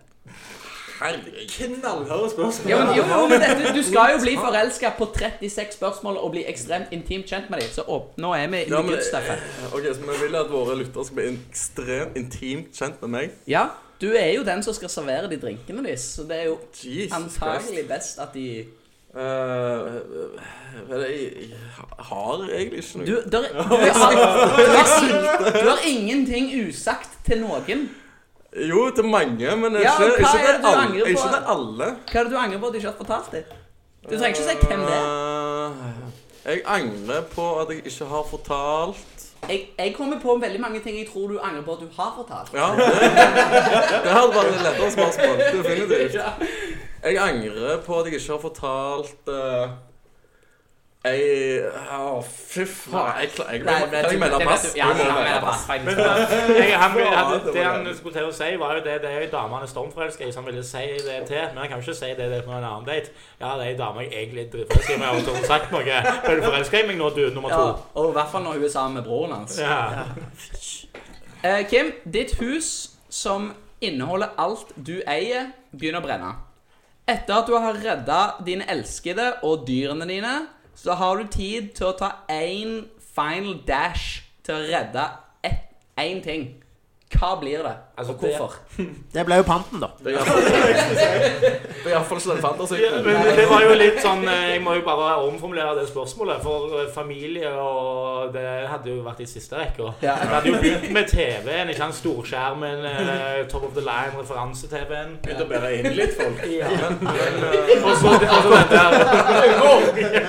[SPEAKER 4] Knallharde spørsmål.
[SPEAKER 2] Ja, men, jo, jo, men dette, du skal jo bli forelska på 36 spørsmål og bli ekstremt intimt kjent med dem. Så åp- nå er vi i
[SPEAKER 1] Ja,
[SPEAKER 2] ja,
[SPEAKER 1] men-
[SPEAKER 2] gudstaffet.
[SPEAKER 1] Ok, så Vi vil at våre lyttere skal bli in- ekstremt intimt kjent med meg.
[SPEAKER 2] Ja, du er jo den som skal servere de drinkene deres, så det er jo
[SPEAKER 1] Jesus Christ.
[SPEAKER 2] antagelig best at de
[SPEAKER 1] Eh, eh, jeg, jeg har egentlig ikke noe
[SPEAKER 2] Du, der, du, har, du, har, du har ingenting usagt til noen.
[SPEAKER 1] Jo, til mange, men ikke,
[SPEAKER 2] Ja, men hva
[SPEAKER 1] ikke,
[SPEAKER 2] er det
[SPEAKER 1] til,
[SPEAKER 2] du
[SPEAKER 1] alle,
[SPEAKER 2] angrer på?
[SPEAKER 1] ikke til alle.
[SPEAKER 2] Hva er det du angrer på at du ikke har fortalt dem? Du trenger ikke si hvem det
[SPEAKER 1] Ah.
[SPEAKER 2] er.
[SPEAKER 1] Eh, Jeg angrer på at jeg ikke har fortalt
[SPEAKER 2] Jeg, jeg kommer på veldig mange ting jeg tror du angrer på at du har fortalt.
[SPEAKER 1] Ja, det, det hadde vært et lettere spørsmål. Definitivt. Jeg angrer på at jeg ikke har fortalt eh, Jeg Å, fy faen. Jeg, kla- jeg,
[SPEAKER 2] Nei,
[SPEAKER 1] jeg,
[SPEAKER 2] men
[SPEAKER 1] kan jeg melde
[SPEAKER 2] det vet
[SPEAKER 1] pass?
[SPEAKER 2] du- Ja,
[SPEAKER 1] Jeg må
[SPEAKER 2] ja,
[SPEAKER 1] melde
[SPEAKER 2] melde
[SPEAKER 1] pass.
[SPEAKER 2] pass.
[SPEAKER 3] Men jeg, han,
[SPEAKER 1] Faen,
[SPEAKER 3] han,
[SPEAKER 1] det
[SPEAKER 3] det
[SPEAKER 1] var
[SPEAKER 3] han
[SPEAKER 1] jævlig.
[SPEAKER 3] skulle til å si, var jo det Det er jo ei dame han er stormforelska i, som ville si det til. Men han kan jo ikke si det, det på en annen date. Ja, det er ei dame jeg egentlig er dritforelska i, men jeg har ikke sagt noe. Er du forelska i meg nå, du, nummer
[SPEAKER 2] Ja,
[SPEAKER 3] to?
[SPEAKER 2] og i hvert fall når hun er sammen med broren hans.
[SPEAKER 3] Ja.
[SPEAKER 2] Eh, Kim, ditt hus som inneholder alt du eier, begynner å brenne. Etter at du har redda dine elskede og dyrene dine, så har du tid til å ta én final dash til å redde ett- én ting. Hva blir det,
[SPEAKER 3] Altså,
[SPEAKER 2] og hvorfor?
[SPEAKER 5] Det ble jo panten, da.
[SPEAKER 1] Det er i hvert fall- det er iallfall ikke den
[SPEAKER 3] Ja,
[SPEAKER 1] fantasien.
[SPEAKER 3] men det var jo litt sånn eh, Jeg må jo bare omformulere det spørsmålet. For eh, familie og Det hadde jo vært i siste rekke.
[SPEAKER 2] Ja.
[SPEAKER 3] Jeg hadde jo begynt med TV-en, ikke sant? Storskjermen, eh, Top of the Line, referanse-TV-en.
[SPEAKER 4] Begynte å bære inn litt folk.
[SPEAKER 3] Ja. Og så og så den der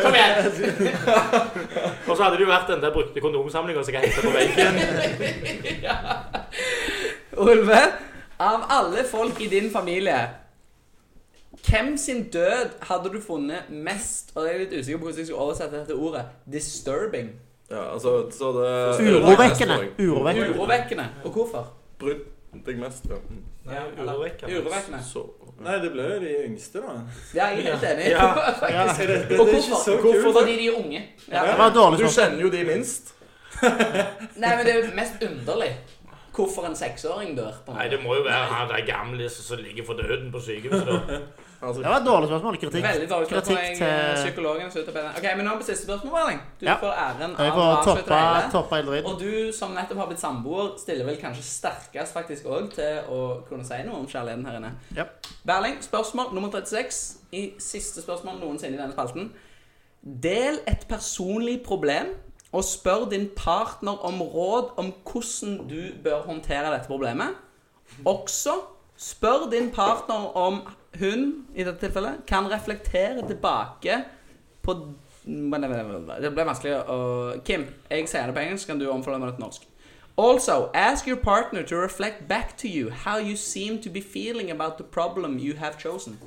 [SPEAKER 3] Kom igjen! Og så hadde det jo vært den der brukte kondomsamlinga som jeg hengte på veggen.
[SPEAKER 2] Ulve, av alle folk i din familie, hvem sin død hadde du funnet mest Og jeg er litt usikker på hvordan jeg skal oversette dette ordet disturbing.
[SPEAKER 1] Ja, altså, så det
[SPEAKER 5] Urovekkende. Urovekkende.
[SPEAKER 2] Urovekkende. Og hvorfor?
[SPEAKER 1] Brydde deg mest, ja. Mm.
[SPEAKER 3] Ja, urovekkende.
[SPEAKER 2] Urovekkende.
[SPEAKER 1] Så
[SPEAKER 4] Nei, det ble jo de yngste, da.
[SPEAKER 2] Ja, jeg er helt enig.
[SPEAKER 3] Ja.
[SPEAKER 4] Ja. Det, det, det
[SPEAKER 2] Og
[SPEAKER 4] er ikke
[SPEAKER 2] hvorfor?
[SPEAKER 4] så
[SPEAKER 1] Hvorfor
[SPEAKER 4] kult.
[SPEAKER 2] Fordi de er unge. Ja.
[SPEAKER 5] Det var et dårlig
[SPEAKER 1] Du
[SPEAKER 5] spørsmål.
[SPEAKER 1] kjenner jo de minst.
[SPEAKER 2] Nei, men det er mest underlig. hvorfor en seksåring dør. på en
[SPEAKER 3] Nei,
[SPEAKER 2] måte.
[SPEAKER 3] det må jo være han der gamle som- som ligger for døden på sykehuset. da.
[SPEAKER 5] Det var et dårlig spørsmål. Kritikk.
[SPEAKER 2] Veldig dårlig spørsmål.
[SPEAKER 5] Kritikk
[SPEAKER 2] Jeg, eh,
[SPEAKER 5] til
[SPEAKER 2] psykologen så ut av beina. Ok, men nå på siste spørsmål, Erling. Du
[SPEAKER 5] Ja.
[SPEAKER 2] får æren
[SPEAKER 5] Jeg
[SPEAKER 2] av å
[SPEAKER 5] får
[SPEAKER 2] avslutte
[SPEAKER 5] toppa,
[SPEAKER 2] det hele.
[SPEAKER 5] toppa hele dritten.
[SPEAKER 2] Og du som nettopp har blitt samboer, stiller vel kanskje sterkest faktisk også til å kunne si noe om kjærligheten her inne.
[SPEAKER 5] Ja.
[SPEAKER 2] Berling, spørsmål nummer 36 i siste spørsmål noensinne i denne spalten. Del et personlig problem og spør din partner om råd om hvordan du bør håndtere dette problemet. Også spør din partner om hun, i dette tilfellet, kan reflektere tilbake på Men det- Det ble vanskelig å Kim, jeg sier det på engelsk, kan du omfølge meg til norsk. Also, ask your partner to reflect back to you how you seem to be feeling about the problem you have chosen.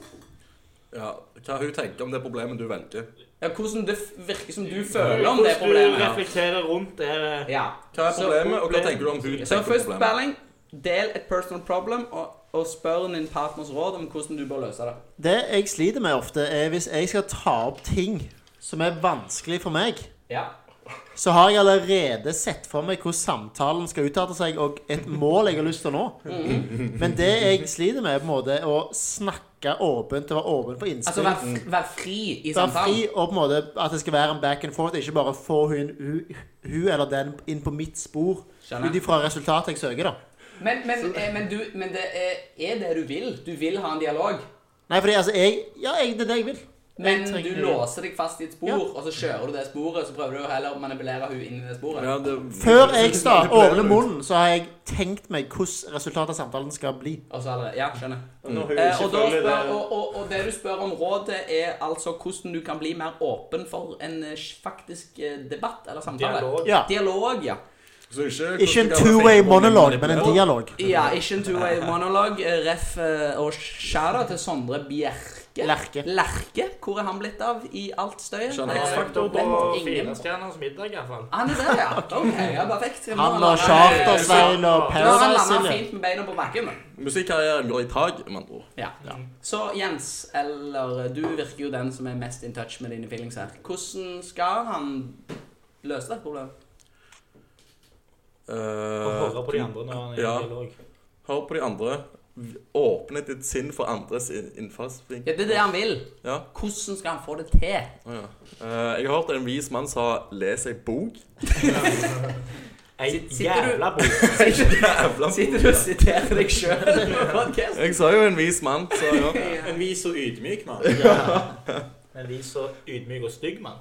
[SPEAKER 1] Ja, Hva hun tenker om det problemet du velger.
[SPEAKER 2] Ja, hvordan det f- virker som du føler om det problemet.
[SPEAKER 3] du
[SPEAKER 2] ja.
[SPEAKER 3] reflekterer rundt det eh,
[SPEAKER 2] Ja.
[SPEAKER 1] Hva er
[SPEAKER 2] Så
[SPEAKER 1] problemet, og hva
[SPEAKER 2] problem-
[SPEAKER 1] tenker du om hun tenker
[SPEAKER 2] Så
[SPEAKER 1] om
[SPEAKER 2] først,
[SPEAKER 1] problemet?
[SPEAKER 2] Berling, del et personal problem, og, og spør din partners råd om hvordan du bør løse det.
[SPEAKER 5] Det jeg sliter med ofte, er hvis jeg skal ta opp ting som er vanskelig for meg,
[SPEAKER 2] Ja.
[SPEAKER 5] så har jeg allerede sett for meg hvordan samtalen skal utarte seg, og et mål jeg har lyst til å nå.
[SPEAKER 2] Mm.
[SPEAKER 5] Men det jeg sliter med, er på en måte å snakke åpent og være åpen for
[SPEAKER 2] Altså,
[SPEAKER 5] innspill.
[SPEAKER 2] vær, f- vær fri i
[SPEAKER 5] Være
[SPEAKER 2] samtalen.
[SPEAKER 5] fri og på en måte at det skal være en back and forth, ikke bare få hun, hun, hun eller den inn på mitt spor
[SPEAKER 2] Skjønner.
[SPEAKER 5] ut ifra resultatet jeg søker, da.
[SPEAKER 2] Men, men, eh, men, du, men det er, er det du vil. Du vil ha en dialog.
[SPEAKER 5] Nei, fordi altså, jeg Ja, jeg, det er det jeg vil.
[SPEAKER 2] Men
[SPEAKER 5] Jeg
[SPEAKER 2] du
[SPEAKER 5] trenger-
[SPEAKER 2] låser deg fast i et spor,
[SPEAKER 5] Ja.
[SPEAKER 2] og så kjører du det sporet. Så prøver du heller å manipulere hun inn i det sporet.
[SPEAKER 1] Ja, det,
[SPEAKER 5] Før jeg sta- åpner
[SPEAKER 1] Manipulere ut.
[SPEAKER 5] munnen, så har jeg tenkt meg hvordan resultatet av samtalen skal bli.
[SPEAKER 2] Og så allerede, ja, skjønner.
[SPEAKER 4] Når hun
[SPEAKER 2] Eh,
[SPEAKER 4] ikke
[SPEAKER 2] og, da
[SPEAKER 4] følger
[SPEAKER 2] spør,
[SPEAKER 4] det
[SPEAKER 2] og, og, og det du spør om rådet, er altså hvordan du kan bli mer åpen for en eh, faktisk eh, debatt eller samtale.
[SPEAKER 3] dialog.
[SPEAKER 5] Ja.
[SPEAKER 2] Dialog, ja.
[SPEAKER 1] Så ikke,
[SPEAKER 5] Ikke en two-way monolog, men en dialog.
[SPEAKER 2] Ja, ikke en two-way monolog. eh, Ref eh, og skjæra til Sondre Bjerke.
[SPEAKER 5] Lerke.
[SPEAKER 2] Lerke. Hvor er han blitt av i alt støyet?
[SPEAKER 1] Skjønner.
[SPEAKER 2] Eh,
[SPEAKER 3] Faktor
[SPEAKER 2] vet
[SPEAKER 3] på
[SPEAKER 2] ingen.
[SPEAKER 3] Firestjerners middag, iallfall.
[SPEAKER 2] Han er der, ja. Ok, ja, perfekt. Nå
[SPEAKER 5] Han
[SPEAKER 2] har
[SPEAKER 5] og
[SPEAKER 2] han-
[SPEAKER 5] Chartersveien og
[SPEAKER 2] Nå har han
[SPEAKER 5] Paradise
[SPEAKER 2] landa
[SPEAKER 5] Silje.
[SPEAKER 2] fint med beina på bakken.
[SPEAKER 1] Musikkarrieren går i tak, med andre ord.
[SPEAKER 2] Ja. Så Jens, eller du virker jo den som er mest in touch med dine feelings her. Hvordan skal han løse dette problemet?
[SPEAKER 3] Og hører
[SPEAKER 1] Eh,
[SPEAKER 3] på de andre når han er
[SPEAKER 1] Ja.
[SPEAKER 3] i dialog.
[SPEAKER 1] hør på de andre. Åpne ditt sinn for andres in- innfallsvinkel.
[SPEAKER 2] Ja, det er det han vil.
[SPEAKER 1] Ja.
[SPEAKER 2] Hvordan skal han få det til?
[SPEAKER 1] Å, ja. Eh, jeg har hørt en vis mann sa 'les ei bok'.
[SPEAKER 3] Ei
[SPEAKER 2] sitter du-
[SPEAKER 3] jævla bok.
[SPEAKER 1] Jævla
[SPEAKER 2] Sitter du og siterer deg sjøl i podkasten?
[SPEAKER 1] Jeg sa jo 'en vis mann', sa jeg òg.
[SPEAKER 4] En vis og ydmyk mann.
[SPEAKER 3] Men vi så ydmyk og stygg, mann.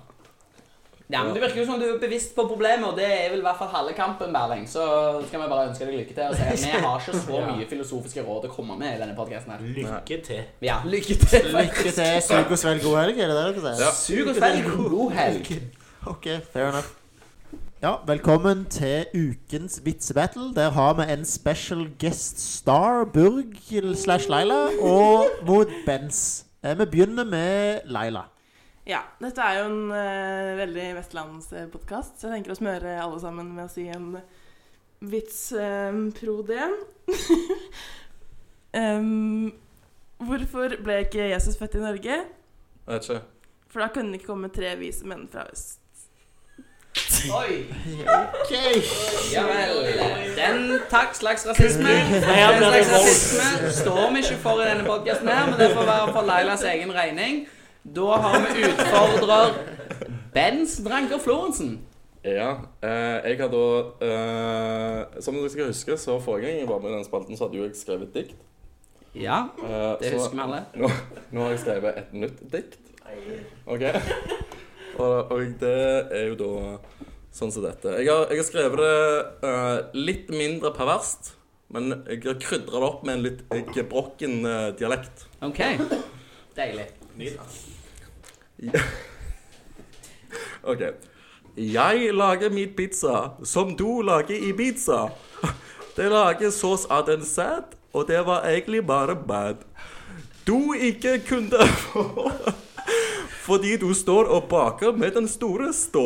[SPEAKER 2] Ja, men Det virker jo som du er bevisst på problemet, og det er vel i hvert fall halve kampen, Berling. Så skal vi bare ønske deg lykke til og si at vi har ikke så mye filosofiske råd å komme med i denne podkasten her.
[SPEAKER 3] Lykke til.
[SPEAKER 2] Ja, lykke til.
[SPEAKER 5] Lykke til. Sug og svelg god helg, er det det dere sier?
[SPEAKER 1] Ja.
[SPEAKER 2] Sug og svelg. God helg.
[SPEAKER 5] OK, fair enough. Ja, velkommen til ukens vitsebattle. Der har vi en special guest star, Burg slash Laila, og mot Benz. Eh, Vi begynner med Laila.
[SPEAKER 6] Ja, dette er jo en eh, veldig vestlandspodkast, så jeg tenker å smøre alle sammen med å si en vits eh, pro det. Em, hvorfor ble ikke Jesus født i Norge?
[SPEAKER 1] Vet ikke.
[SPEAKER 6] For da kunne det ikke komme tre vise menn fra øst.
[SPEAKER 2] Oi.
[SPEAKER 5] OK.
[SPEAKER 2] Ja vel. Den takk slags rasisme.
[SPEAKER 3] Her
[SPEAKER 2] Den
[SPEAKER 3] blir det
[SPEAKER 2] slags
[SPEAKER 3] vold.
[SPEAKER 2] rasisme står vi ikke for i denne podkasten her, men det får være for Lailas egen regning. Da har vi utfordrer Bens Dranker Florensen.
[SPEAKER 1] Ja. eh, jeg har da eh, Som dere skal huske, så forrige gang jeg var med i den spalten, så hadde jo jeg skrevet dikt.
[SPEAKER 2] Ja,
[SPEAKER 1] Eh,
[SPEAKER 2] det
[SPEAKER 1] så-
[SPEAKER 2] husker vi alle.
[SPEAKER 1] Nå, nå har jeg skrevet et nytt dikt. OK? Og, og det er jo da sånn som dette. Jeg har, jeg har skrevet det eh, litt mindre perverst, men jeg har krydra det opp med en litt gebrokken eh, dialekt.
[SPEAKER 2] OK. Deilig.
[SPEAKER 1] OK. Jeg lager min pizza som du lager i pizza. Det lager sås av den sæd, og det var egentlig bare bad. Du ikke kunne få fordi du står og baker med den store stå.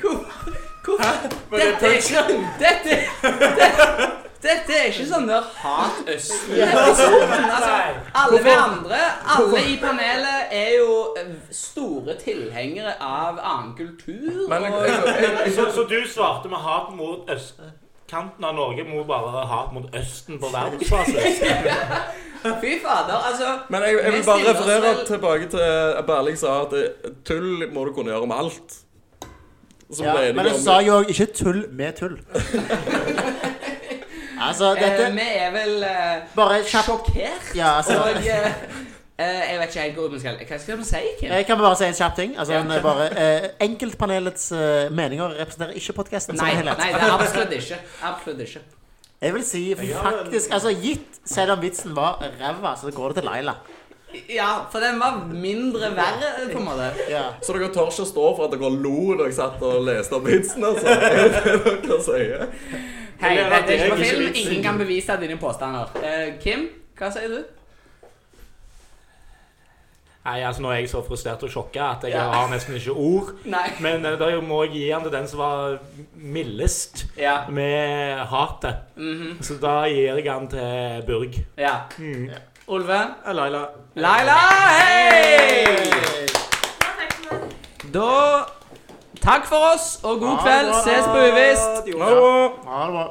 [SPEAKER 2] Hvorfor Dette er ikke Dette dette- dette er ikke sånn der hat østen-episoden. Altså, alle vi andre, alle i panelet, er jo eh, store tilhengere av annen kultur.
[SPEAKER 1] Men
[SPEAKER 2] og-
[SPEAKER 1] jeg, jeg, jeg,
[SPEAKER 3] Så, så du svarte med hat mot øst... Kanten av Norge må bare ha et mot Østen på verdensbasis.
[SPEAKER 2] Fy fader, altså.
[SPEAKER 1] Men jeg, jeg vil
[SPEAKER 2] Vi
[SPEAKER 1] bare
[SPEAKER 2] stiller oss
[SPEAKER 1] referere
[SPEAKER 5] altså.
[SPEAKER 2] vel-
[SPEAKER 1] tilbake til at Berling sa at eh, tull må du kunne gjøre med alt. Så
[SPEAKER 5] Ja,
[SPEAKER 1] ble
[SPEAKER 5] men
[SPEAKER 1] enige
[SPEAKER 5] jeg
[SPEAKER 1] om
[SPEAKER 5] sa jo ikke tull med tull. altså,
[SPEAKER 2] eh,
[SPEAKER 5] dette
[SPEAKER 2] vi er vel eh,
[SPEAKER 5] Bare kjapt
[SPEAKER 2] sjokkert.
[SPEAKER 5] Ja, altså.
[SPEAKER 2] Og eh, eh, jeg vet ikke helt hvor vi skal Hva skal vi si, Kim?
[SPEAKER 5] Jeg Eh, kan bare si en kjapp ting. Altså,
[SPEAKER 2] Ja.
[SPEAKER 5] en, eh, bare, eh, enkeltpanelets eh, meninger representerer ikke podkasten som
[SPEAKER 2] Nei,
[SPEAKER 5] helhet.
[SPEAKER 2] nei, det er absolutt ikke. Absolutt ikke.
[SPEAKER 5] Jeg vil si faktisk Altså, gitt selv om vitsen var ræva, så går det til Laila.
[SPEAKER 2] Ja, for den var mindre verre, eh, på en måte.
[SPEAKER 5] Ja.
[SPEAKER 1] Så dere tør ikke å stå for at dere lo da jeg satt og leste om vitsen, altså? Er det det dere sier?
[SPEAKER 2] Hei,
[SPEAKER 3] Eller at
[SPEAKER 2] dette er
[SPEAKER 3] jeg
[SPEAKER 2] ikke på
[SPEAKER 3] ikke
[SPEAKER 2] film.
[SPEAKER 3] vil si.
[SPEAKER 2] Ingen kan bevise dine påstander. Eh, Kim, hva sier du?
[SPEAKER 3] Nei, altså Nå er jeg så frustrert og sjokka at jeg har nesten ikke ord.
[SPEAKER 2] Nei.
[SPEAKER 3] Men eh, da må jeg gi han til den som var mildest
[SPEAKER 2] Ja.
[SPEAKER 3] med hatet.
[SPEAKER 2] mhm,
[SPEAKER 3] Så da gir jeg han til Burg.
[SPEAKER 2] ja.
[SPEAKER 3] Mm.
[SPEAKER 2] Olve?
[SPEAKER 4] Laila.
[SPEAKER 2] Laila, hei! Da Takk for oss, og god
[SPEAKER 5] Ha
[SPEAKER 2] kveld.
[SPEAKER 5] det bra.
[SPEAKER 2] Ses på Uvisst.
[SPEAKER 5] Ha det bra.